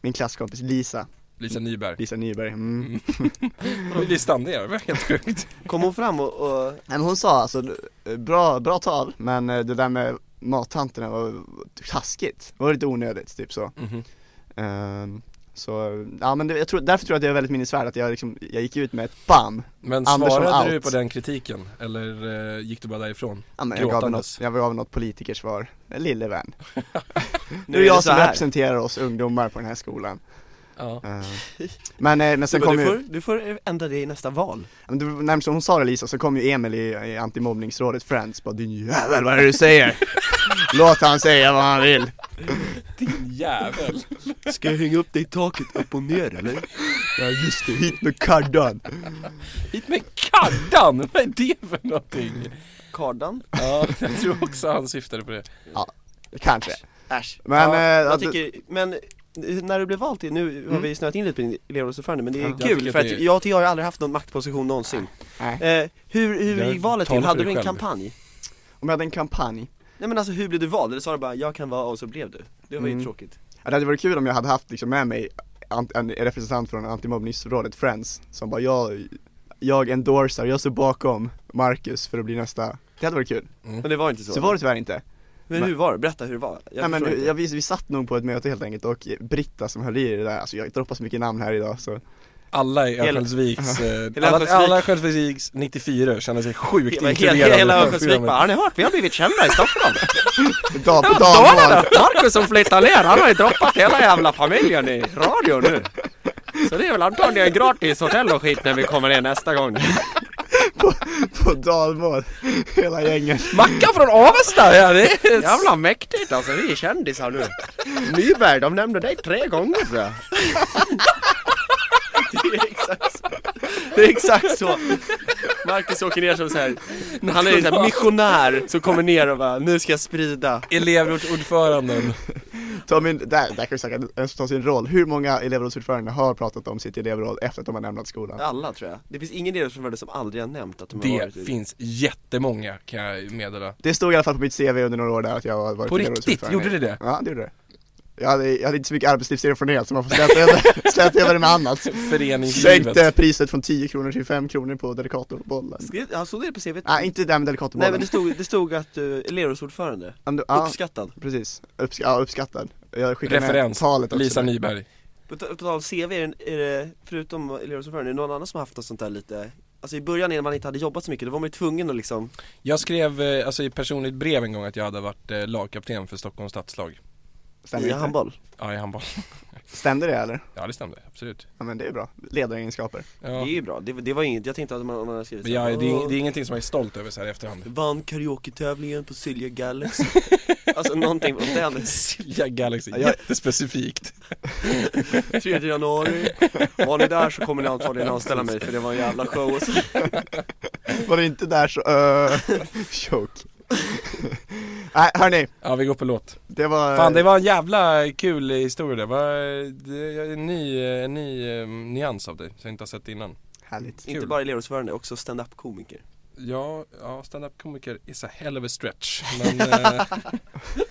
Min klasskompis Lisa,
Lisa Nyberg
Lisa Nyberg, mm. Nej,
Listan, det är helt sjukt
Kom hon fram och, och
men hon sa alltså, eh, bra, bra tal, men eh, det där med mattanterna var taskigt, det var lite onödigt typ så
Mhm.
Ehm, Så, ja men det, jag tror, därför tror jag att det är väldigt minnesvärt att jag liksom, jag gick ut med ett bam
Men
Anders om
svarade
allt.
du på den kritiken? Eller eh, gick du bara därifrån?
ja, men jag, gav något,
Gråtandes.
jag gav något politikersvar, lille vän
Nu
Nu är
är
jag
det så
som
här.
representerar oss ungdomar på den här skolan
Ja.
Eh, Men, eh, men sen
du,
kom ju,
får, du får ändra det i nästa val
men det var närmast som hon sa det Lisa, så kom ju Emil i, i antimobbningsrådet Friends bara din jävel vad är det du säger? Låt han säga vad han vill
Din jävel.
Ska jag hänga upp dig i taket upp och ner eller?
Ja just det, hit med kardan!
Hit med kaddan! Vad är det för någonting?
Kardan?
Ja, jag tror också han syftade på det.
Kanske
Äsch
Men, eh,
jag
att-
tycker, men eh, när du blev vald till, nu har vi snöat in lite på din elevrådsordförande men det är
Ja. Jag
kul
tycker
för
att
att
det är-
jag, jag har ju aldrig haft någon maktposition någonsin
Nej.
eh, Hur, hur
Jag
gick valet
talar
till?
för
Hade
dig
du en
själv.
kampanj?
Om jag hade en kampanj
Nej men alltså hur blev du vald? Eller sa du bara 'jag kan vara' och så blev du? Det
Mm.
var ju tråkigt
Ja, Det hade varit kul om jag hade haft liksom med mig an- en representant från antimobbningsrådet Friends som bara jag, jag endorsar, jag står bakom Marcus för att bli nästa Det hade varit kul,
Mm.
Men det var inte så,
så var det tyvärr inte
Men hur var det? Berätta hur det var
Nej
jag
men
förstår inte.
jag, vi, vi satt nog på ett möte helt enkelt och Britta som höll i det där, alltså jag droppar så mycket namn här idag så
Alla i
Hela-
Örnsköldsviks, eh,
Hela
alla,
Örnsköldsvik.
alla i Örnsköldsviks 94 känner sig sjukt
Hela, hela,
inkluderade
hela
i det här
Örnsköldsvik bara,
programmet.
har ni hört? Vi har blivit kända i Stockholm!
dag på
Då var
dag
det då. Marcus som flyttar ner, han har ju droppat hela jävla familjen i radio nu! Så det är väl antagligen gratis hotell och skit när vi kommer ner nästa gång
på dalmål, hela gänget
Mackan från Avesta! Ja, det är...
Jävla mäktigt alltså, vi är kändisar nu Nyberg, de nämnde dig tre gånger tror jag Det är exakt så Det är exakt så Marcus åker ner som såhär, han är ju såhär missionär som kommer ner och bara, nu ska jag sprida
Elevrådsordföranden.
Ta min, där, där kan vi snacka, en som tar sin roll, hur många elevrådsordförande har pratat om sitt elevråd efter att de har lämnat skolan?
Alla tror jag. Det finns ingen elevrådsordförande som aldrig har nämnt att de har
Det
varit i-
finns jättemånga kan jag meddela.
Det stod i alla fall på mitt CV under några år där att jag har varit
På
elevrådsordförande.
riktigt? Gjorde det det?
Ja, det gjorde det. Jag hade, jag hade inte så mycket arbetslivserfarenhet så man får släta över, släta över det med annat. Sänkte
Föreningslivet.
priset från 10 kronor till 5 kronor på Delicatobollen.
Skrev- Ja, stod det på CVt?
Nej, inte det där med
Nej
Delicatobollen.
men det stod, det stod att uh, elevrådsordförande,
Om du- ja,
uppskattad.
precis. Uppsk- ja, uppskattad. Jag skickade med
Referens,
talet också.
Lisa
där.
Nyberg.
På, t- på tal om CV, är det, är det, förutom elevrådsordförande, är det någon annan som har haft något sånt där lite Alltså i början när man inte hade jobbat så mycket, då var man ju tvungen att liksom
Jag skrev eh, alltså, i personligt brev en gång att jag hade varit eh, lagkapten för Stockholms stadslag.
Stämmer,
I
inte?
handboll
Ja, i handboll.
Stämde det eller?
Ja, det stämde. Absolut.
Ja men det är bra. Ledaregenskaper.
Ja.
Det är ju Oh. bra, det, det var inget, jag tänkte att man, om man hade skrivit
Men jag, det, är,
"Åh,
det är ingenting som jag är stolt över så här i efterhand.
Vann karaoke-tävlingen på Silja Galaxy Alltså någonting åt det hade
Silja Galaxy,
Jag-
jättespecifikt.
3 januari Var ni där så kommer ni antagligen anställa mig för det var en jävla show och så
Var det inte där så, öh, choke. Nej hörni,
Ja, vi går på låt.
det
Eh.
var...
Fan, det var en jävla kul historia det var det- en ny, en ny eh, nyans av dig som jag inte har sett innan.
Härligt.
Inte
Kul.
bara elevrådsordförande, också stand-up-komiker
Ja, ja stand-up komiker is a hell of a stretch. Men eh,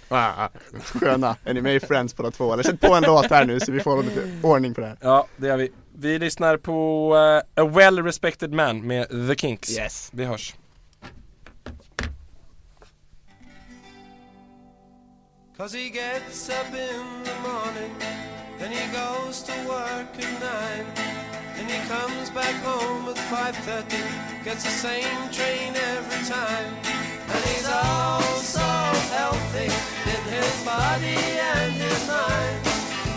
Ah, Sköna. Är ni med i Friends båda två? Eller sätt på en låt här nu så vi får lite ordning på det här.
ja, det gör vi. Vi lyssnar på eh, A Well Respected Man med The Kinks.
Yes.
Vi hörs.
Cause he gets up in the morning, then he goes to work at nine. Then he comes back home at 5.30, gets the same train every time. And he's all so healthy in his body and his mind.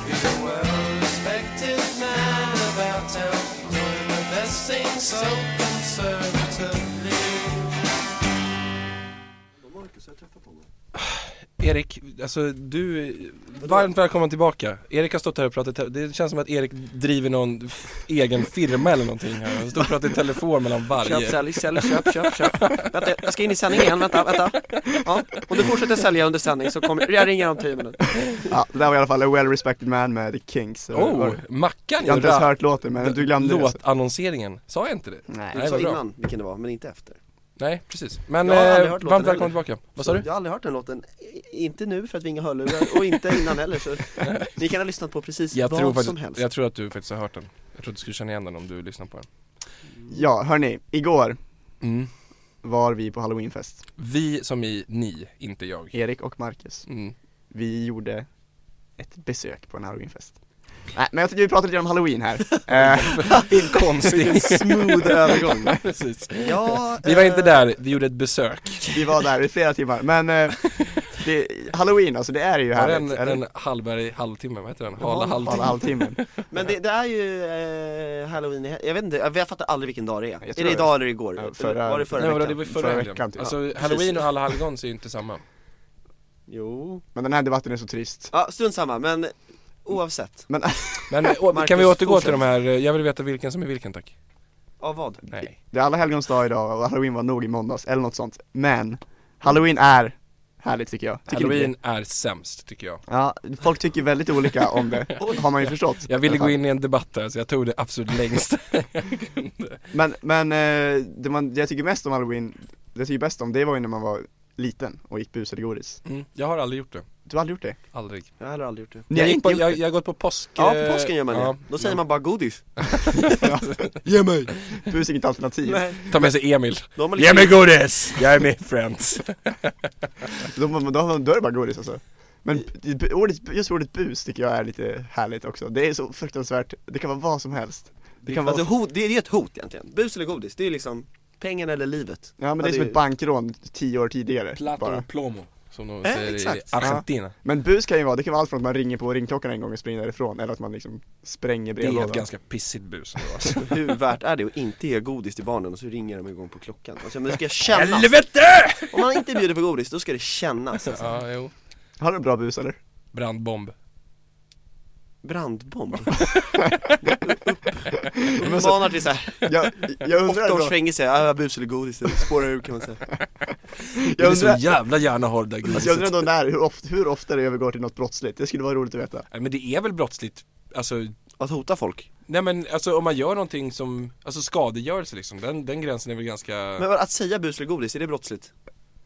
He's a well-respected man about town, doing the best thing so conservatively.
Erik, alltså du, varmt välkommen tillbaka. Erik har stått här och pratat, det känns som att Erik driver någon f- egen firma eller någonting här. Han står och pratar i telefon mellan
Köp,
varje.
sälj, sälj, köp, köp, köp Vänta, jag ska in i sändning igen, vänta, vänta ja, Om du fortsätter sälja under sändning så kommer, jag ringer om 10 minuter
Ja, det där var i alla fall A Well Respected Man med The Kinks. Så det
Oh,
var-
Mackan
jag har inte ens
ra-
hört låten men du glömde det. så-
Låtannonseringen, sa jag inte det?
Nej.
Du sa
vad bra.
innan vilken det var, men inte efter
Nej, precis. Men
Jag har aldrig
eh,
hört
varmt
låten
välkommen
heller.
tillbaka. Vad sa du?
Jag har aldrig hört den låten, I- inte nu för att vi har inga hörlurar och inte innan heller så Ni kan ha lyssnat på precis
Jag
vad
tror,
som
faktiskt,
helst
jag tror att du faktiskt har hört den. Jag tror att du skulle känna igen den om du lyssnar på den.
Ja, hörni. Igår var vi på halloweenfest.
Vi som i ni, inte jag.
Erik och Marcus.
Mm.
Vi gjorde ett besök på en halloweenfest. Nej, men jag tycker vi pratar lite om halloween här. Eh,
Konstigt.
Smooth övergång
precis.
Ja,
Vi var
eh,
inte där, vi gjorde ett besök.
vi var där i flera timmar, men eh, det, halloween alltså, det är ju
Var det
härligt.
en,
är det?
en Hallberg halvtimme? Vad heter den? Hala halvtimme?
Hala halvtimmen.
Men det, det är ju eh, halloween, i he- jag vet inte, jag jag fattar aldrig vilken dag det är.
Jag
Är
tror
det
det.
idag eller igår?
Ja, förra-
var det liksom. förra
Nej vadå,
veckan?
det var ju förra
Förra
helgen.
veckan, typ.
Alltså
Ja,
halloween
precis.
och alla helgons är ju inte samma.
Jo.
Men den här debatten är så trist.
Ja, strunt samma, men oavsett.
Men
Men å-
Marcus,
kan vi återgå
fortsätt.
till de här, eh, jag vill veta vilken som är vilken tack.
Av vad?
Nej.
det är alla helgons dag idag och halloween var nog i måndags eller något sånt. Men halloween är härligt tycker jag. Tycker ni inte
Halloween är sämst tycker jag.
det? Ja, folk tycker väldigt olika om det. Har man ju förstått.
Jag
I
ville
alla fall.
gå in i en debatt där så jag tog det absolut längst.
Men, men eh, det man, det jag tycker mest om halloween, det jag tycker bäst om det var ju när man var liten och gick bus eller godis.
Mm, jag har aldrig gjort det.
Du har aldrig gjort det?
Aldrig.
Jag har heller aldrig gjort det.
Ni
Jag,
har
gick
inte
på,
gjort
jag,
det?
jag har gått på påsk...
Ja, på
eh,
påsgen gör man
ja.
det. Då säger man bara godis.
Ge mig!
Bus är inget alternativ.
Ta med sig Emil.
Då har man
Ge
liksom,
mig godis! Jag är med friends.
Då, då, då, då är det bara godis alltså. Men b- ordet, just ordet bus tycker jag är lite härligt också. Det är så fruktansvärt, det kan vara vad som helst. Det kan vara,
alltså, hot, det, det är ett hot egentligen. Bus eller godis, det är liksom pengarna eller livet.
ja men det är
alltså,
som ett bankrån tio år tidigare bara.
plomo. Som de
Eh,
säger i
exakt.
Argentina.
Men bus kan ju vara, det kan vara allt från att man ringer på ringklockan en gång och springer därifrån eller att man liksom spränger
Det är
brevlådan.
ett ganska pissigt bus ändå, alltså.
Hur värt är det att inte ge godis till barnen och så ringer de igång på klockan? Alltså, men det ska kännas!
Helvete!
Om man inte bjuder på godis, då ska det kännas. Alltså.
Ja, jo.
Har du en bra bus eller?
Brandbomb.
Brandbomb.
Men så,
Manar till såhär,
jag, jag undrar
åtta års
ändå,
fängelse, ja, bus eller godis, det spårar ur kan man säga.
jag undrar,
jävla gärna har det där godiset.
alltså jag undrar ändå när, hur ofta, hur ofta det övergår till något brottsligt. Det skulle vara roligt att veta.
Nej, men det är väl brottsligt, alltså
Att hota folk.
Nej men alltså om man gör någonting som, alltså skadegörelse liksom, den, den gränsen är väl ganska
Men vad- att säga bus eller godis, är det brottsligt?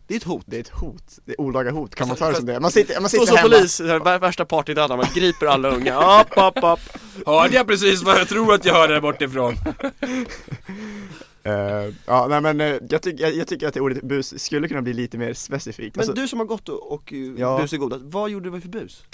Det är ett hot.
Det är ett hot, det är olaga hot, kan man ta det
fast-
som det? Man sitter, man
Står
sitter
som
hemma.
polis, så här, vär- värsta partydödaren, man griper alla unga, app, app, app.
Hörde jag precis vad jag tror att jag hörde där bortifrån?
Eh, ja, nej men eh, jag, tyck, jag, jag tycker att det ordet bus skulle kunna bli lite mer specifikt.
Men
Alltså,
du som har gått och, och eh,
Ja.
bus och godis, vad gjorde du för bus?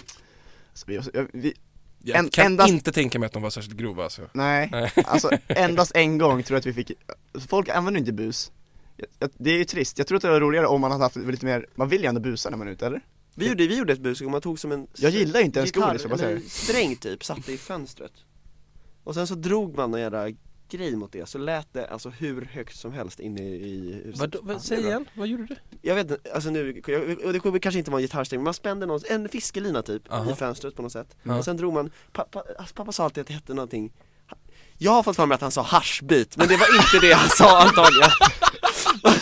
alltså, vi- jag- vi,
Jag
En-
kan
endast-
inte tänka mig att de var särskilt grova alltså
nej, alltså endast en gång tror jag att vi fick, alltså, folk använder inte bus. Jag- jag- Det är ju trist, jag tror att det var roligare om man hade haft lite mer, man vill ju ändå busa när man är ute eller?
Vi gjorde, vi gjorde ett bus och man tog som en
Jag gillar ju inte ens
gitarr
godis, får man
eller
säga.
sträng typ, satte i fönstret Och sen så drog man någon jävla grej mot det, så lät det alltså hur högt som helst inne i huset Ja, det är bra.
vad gjorde du?
Jag vet inte, alltså nu, jag, och det kommer kanske inte vara en gitarrsträng, men man spände någon, en fiskelina typ,
Aha.
i fönstret på något sätt
Ja.
Och sen drog man, pappa, alltså, pappa sa alltid att det hette någonting Jag har fått för mig att han sa haschbit, men det var inte det han sa antagligen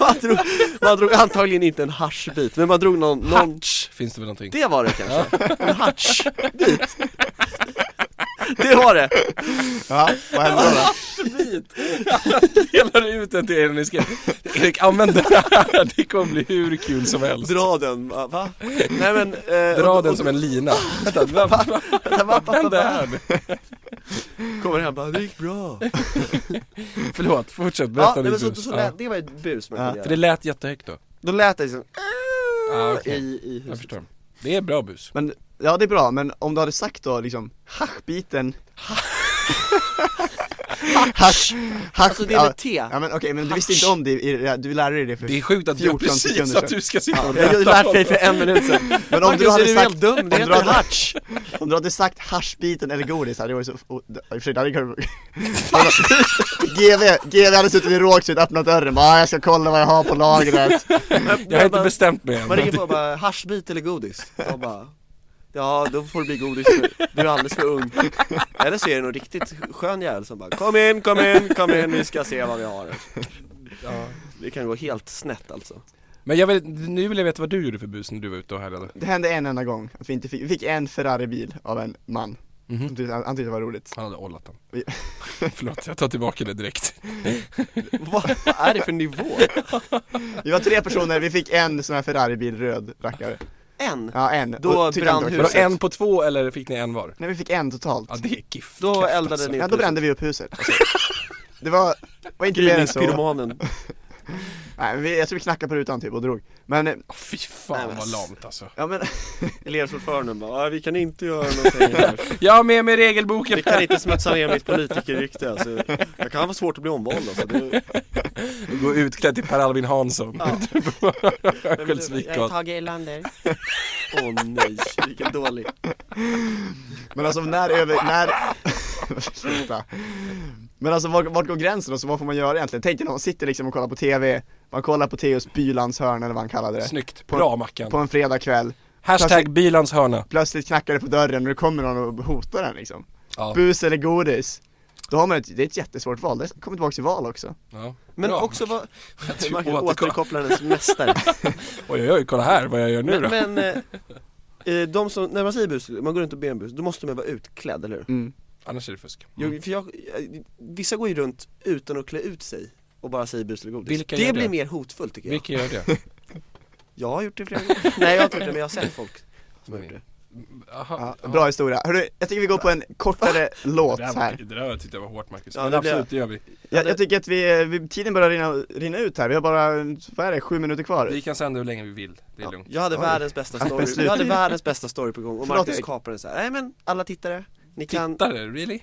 man, drog, man drog antagligen inte en haschbit, men man drog någon, någon
Hatch finns det väl någonting?
det var det kanske, en hatch dit Det var det!
Ja, vad hände då? då?
Delar ut den till er när ni ska Erik, använd det här, det kommer bli hur kul som helst
Dra den, va? va? Nej men, eh,
Dra
och-
den
och-
som en lina Vänta, vad vad
pappa, pappa,
hände
pappa.
här?
Kommer hem bara, det gick bra
Förlåt, fortsätt,
Ja,
berätta
nej, men
ditt
så,
bus
så
Ja.
lät, det var ett bus man
Ja.
kunde
För
göra
det lät jättehögt då,
Då lät det liksom
Ja, okej.
i, i
jag
huset
förstår Det är bra bus
Men, ja det är bra, men om du hade sagt då liksom haschbiten Hasch, hasch,
Alltså det är
ja,
med T
ja men okej, men du visste inte om det, i det här- du lärde dig det för
Det är sjukt att du
14 sekunder
precis
sedan.
att du ska sitta och
Jag har ju lärt mig för en minut sedan
Men om
Marcus,
du hade
är du
sagt,
helt dum? Det
om, du
heter
hade,
hatch
om du hade sagt haschbiten eller godis hade det varit så, och, i och för sig det hade kunnat GV, GV hade suttit vid Rågsved, öppnat dörren, bara "Ah, jag ska kolla vad jag har på lagret
Jag har inte bestämt mig än
Man ringer på och bara, haschbit eller godis? Jag bara, ja då får det bli godis för du är alldeles för ung Eller så är det någon riktigt skön jävel som bara, kom in, kom in, kom in, vi ska se vad vi har Det kan gå helt snett alltså
Men jag vill, nu vill jag veta vad du gjorde för bus när du var ute och härjade
Det hände en enda gång, att vi inte fick, vi fick en Ferrari-bil av en man Han tyckte- Han tyckte det var roligt
Han hade ollat den
Vi-
Förlåt, jag tar tillbaka det direkt
Vad, vad är det för nivå?
Vi var tre personer, vi fick en sån här Ferrari-bil, röd rackare
En?
Ja en,
Då
Och tyckte
brann
inte
Vadå
det var kul.
huset.
en på två eller fick ni en var?
Nej vi fick en totalt
Ja det är gift alltså.
Då eldade ni
Ja
upp
då brände vi upp huset alltså. Det var, var inte mer än så,
Gryningspyromanen
Nej, vi, jag tror vi knackade på rutan typ och drog Men, eh,
Fy
Nej,
fan
men
vad
ass.
lamt alltså
ja men
Elevsordföranden bara, "Ah, vi kan inte göra någonting här.
Jag har med mig regelboken!
Vi kan inte smutsa ner mitt politikerrykte alltså. Jag kan ha svårt att bli omvald alltså. det...
Gå utklädd till Per Albin Hansson.
Jag är
Örnsköldsviksgatan.
Tage Erlander Åh nej, vilken dålig
Men alltså när över, när Sluta. Men alltså vart, vart går gränsen och så vad får man göra egentligen? Tänk dig när man sitter liksom och kollar på TV Man kollar på Theos Bylands hörn eller vad han kallade det
Snyggt, bra
På
Mackan.
en fredagkväll
Hashtag bilans hörna.
Plötsligt knackar det på dörren och det kommer någon och hotar den liksom
Ja.
Bus eller godis? Då har man ett, det är ett jättesvårt val, det kommer tillbaka till val också
Ja.
Men
Bra.
också vad, man kan
återkom-
återkoppla hennes mästare
Oj oj oj, kolla här vad jag gör nu då.
Men, men eh, eh, de som, när man säger bus, man går runt och ber om bus, då måste man vara utklädd, eller hur?
mm.
Annars är det fusk.
Jag, för jag, eh, vissa går ju runt utan att klä ut sig och bara säger bus eller godis
Vilka
Det
gör
blir
det?
mer hotfullt tycker jag
Vilka gör det?
Jag har gjort det flera gånger Nej jag har inte gjort det men jag har sett folk som har gjort det
Aha.
ja, Bra historia, Hörru, jag tycker vi går på en kortare låt
Det, här,
här
det där tyckte jag var hårt Marcus.
Ja,
men
det blir-
absolut, det gör vi.
jag, jag tycker att vi, vi tiden börjar rinna, rinna ut här, vi har bara, vad är det, sju minuter kvar?
Vi kan sända hur länge vi vill, det är
Ja,
lugnt.
Jag hade
Oj.
världens bästa story,
Slut.
jag hade världens bästa story på gång och
Förlåt,
Marcus
Erik.
kapade så här. nej men alla tittare, ni kan,
Tittare, really?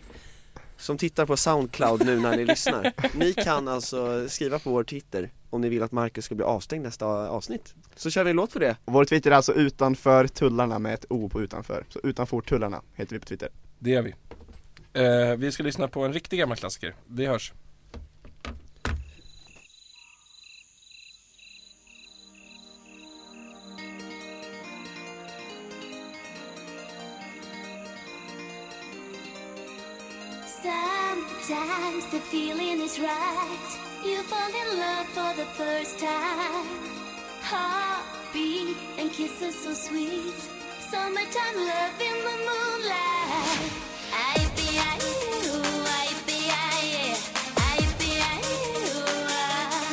som tittar på Soundcloud nu när ni lyssnar Ni kan alltså skriva på vår Twitter om ni vill att Marcus ska bli avstängd nästa avsnitt Så kör vi en låt för det
Vår Twitter är alltså utanför tullarna med ett O på utanför. Så utanför tullarna heter vi på Twitter.
Det gör vi. Eh, vi ska lyssna på en riktig gammal klassiker. Vi hörs.
Sometimes the feeling is right. You fall in love for the first time. Heartbeat and kisses so sweet. Summertime love in the moonlight. I be I you, I be I, I be I you. I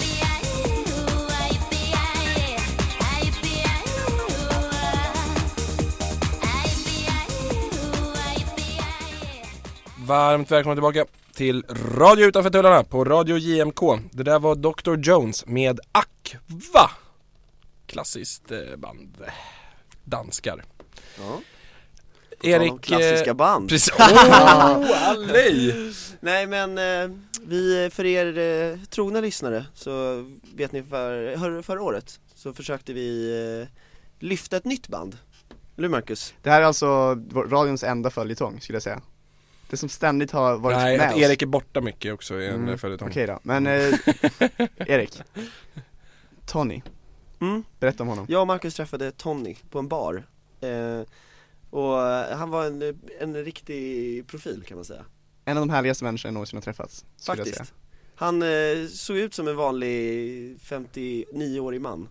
be I you, I be I, I be I you.
Varmt välkomna tillbaka till Radio Utanför Tullarna på Radio JMK. Det där var Dr. Jones med Aqua. Klassiskt eh, band. Danskar.
Ja, Erik, om
Erik...
klassiska
eh,
band
Precis. Åh, allej!
Nej men, eh, vi, för er eh, trogna lyssnare så vet ni för, hör, förra året så försökte vi eh, lyfta ett nytt band Eller hur, Marcus?
Det här är alltså vår- radions enda följetong skulle jag säga. Det som ständigt har varit
Nej,
med
att
oss.
Erik är borta mycket också i en
Mm,
mm. följetong.
Okej då, men eh, Erik. Tony,
Mm.
berätta om honom.
Jag och Marcus träffade Tony på en bar eh, Och eh, han var en, en riktig profil kan man säga
En av de härligaste människorna jag någonsin har träffats. skulle jag
Faktiskt Han eh, såg ut som en vanlig 59-årig man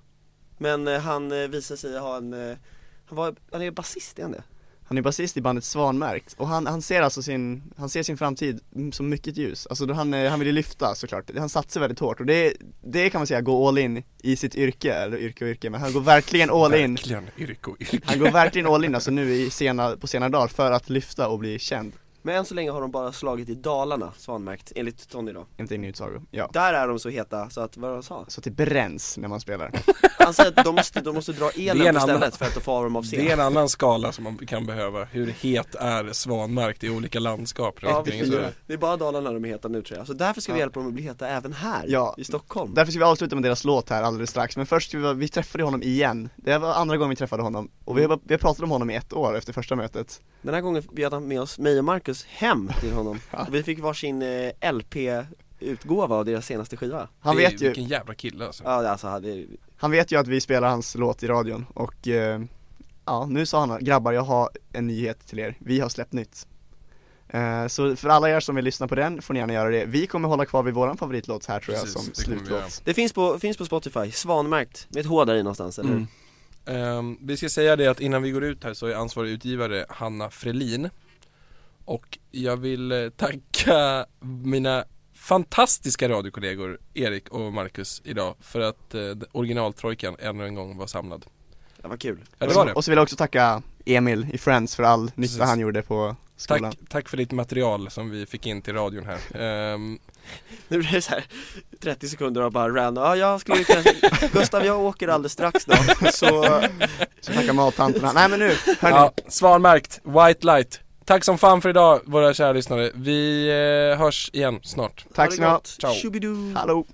Men eh, han eh, visade sig ha en, eh, han, var, han är basist, är han det?
Han är basist i bandet Svanmärkt och han, han ser alltså sin, han ser sin framtid mm, som mycket ljus. Alltså då han, eh, han ville lyfta såklart, han satsar väldigt hårt och det, det kan man säga gå all in i sitt yrke, eller yrke och yrke, men han går verkligen all in.
Verkligen, yrke och yrke.
Han går verkligen all in alltså nu i sena, på sena dagar för att lyfta och bli känd,
Men än så länge har de bara slagit i Dalarna, svanmärkt, enligt Tony då
enligt egen utsago. Ja.
Där är de så heta så att, vad var det han sa?
Så att det bränns när man spelar.
Han säger att de måste, de måste dra
Det är
elen
en
på
annan-
stället för att då far de av
Det är
scen
en annan skala som man kan behöva. Hur het är svanmärkt i olika landskap?
Ja,
Det är ingen
vi-
så-
det är bara Dalarna de är heta nu tror jag, så därför ska vi
Ja.
hjälpa dem att bli heta även här,
Ja.
i Stockholm
Därför ska vi avsluta med deras låt här alldeles strax, men först, ska vi, vi träffade honom igen. Det var andra gången vi träffade honom och vi
Mm.
har, bara- vi har pratat om honom i ett år efter första mötet.
Den här gången bjöd han med oss, mig och Marcus, hem till honom Och Vi fick varsin eh, LP-utgåva av deras senaste skiva
Han
Det är-
vet ju
Vilken jävla kille alltså.
Ja, alltså hade,
Han vet ju att vi spelar hans låt i radion och eh, ja, nu sa han grabbar jag har en nyhet till er, vi har släppt nytt. Eh, så för alla er som vill lyssna på den får ni gärna göra det. Vi kommer hålla kvar vid våran favoritlåt här tror jag
Precis,
som
det kommer vi göra.
slutlåt.
det finns på, finns på Spotify, svanmärkt, med ett H där i någonstans, eller hur?
Mm. Ehm, vi ska säga det att innan vi går ut här så är ansvarig utgivare Hanna Frelin Och jag vill eh, tacka mina fantastiska radiokollegor Erik och Marcus idag för att eh, originaltrojkan ännu en gång var samlad
Ja, vad kul
Ja det var det
Och så vill jag också tacka Emil i Friends för all nytta han gjorde på skolan.
Tack, tack för ditt material som vi fick in till radion här Ehm,
Nu blir det så här 30 sekunder av bara random, ja jag skulle kunna, Gustav jag åker alldeles strax då, så
Så tacka mattanterna. Nej men nu, hörni.
Ja, svanmärkt, white light Tack som fan för idag våra kära lyssnare. Vi eh, hörs igen snart.
Tack så mycket.
Ciao.
Tjoubidoo!
Hallå.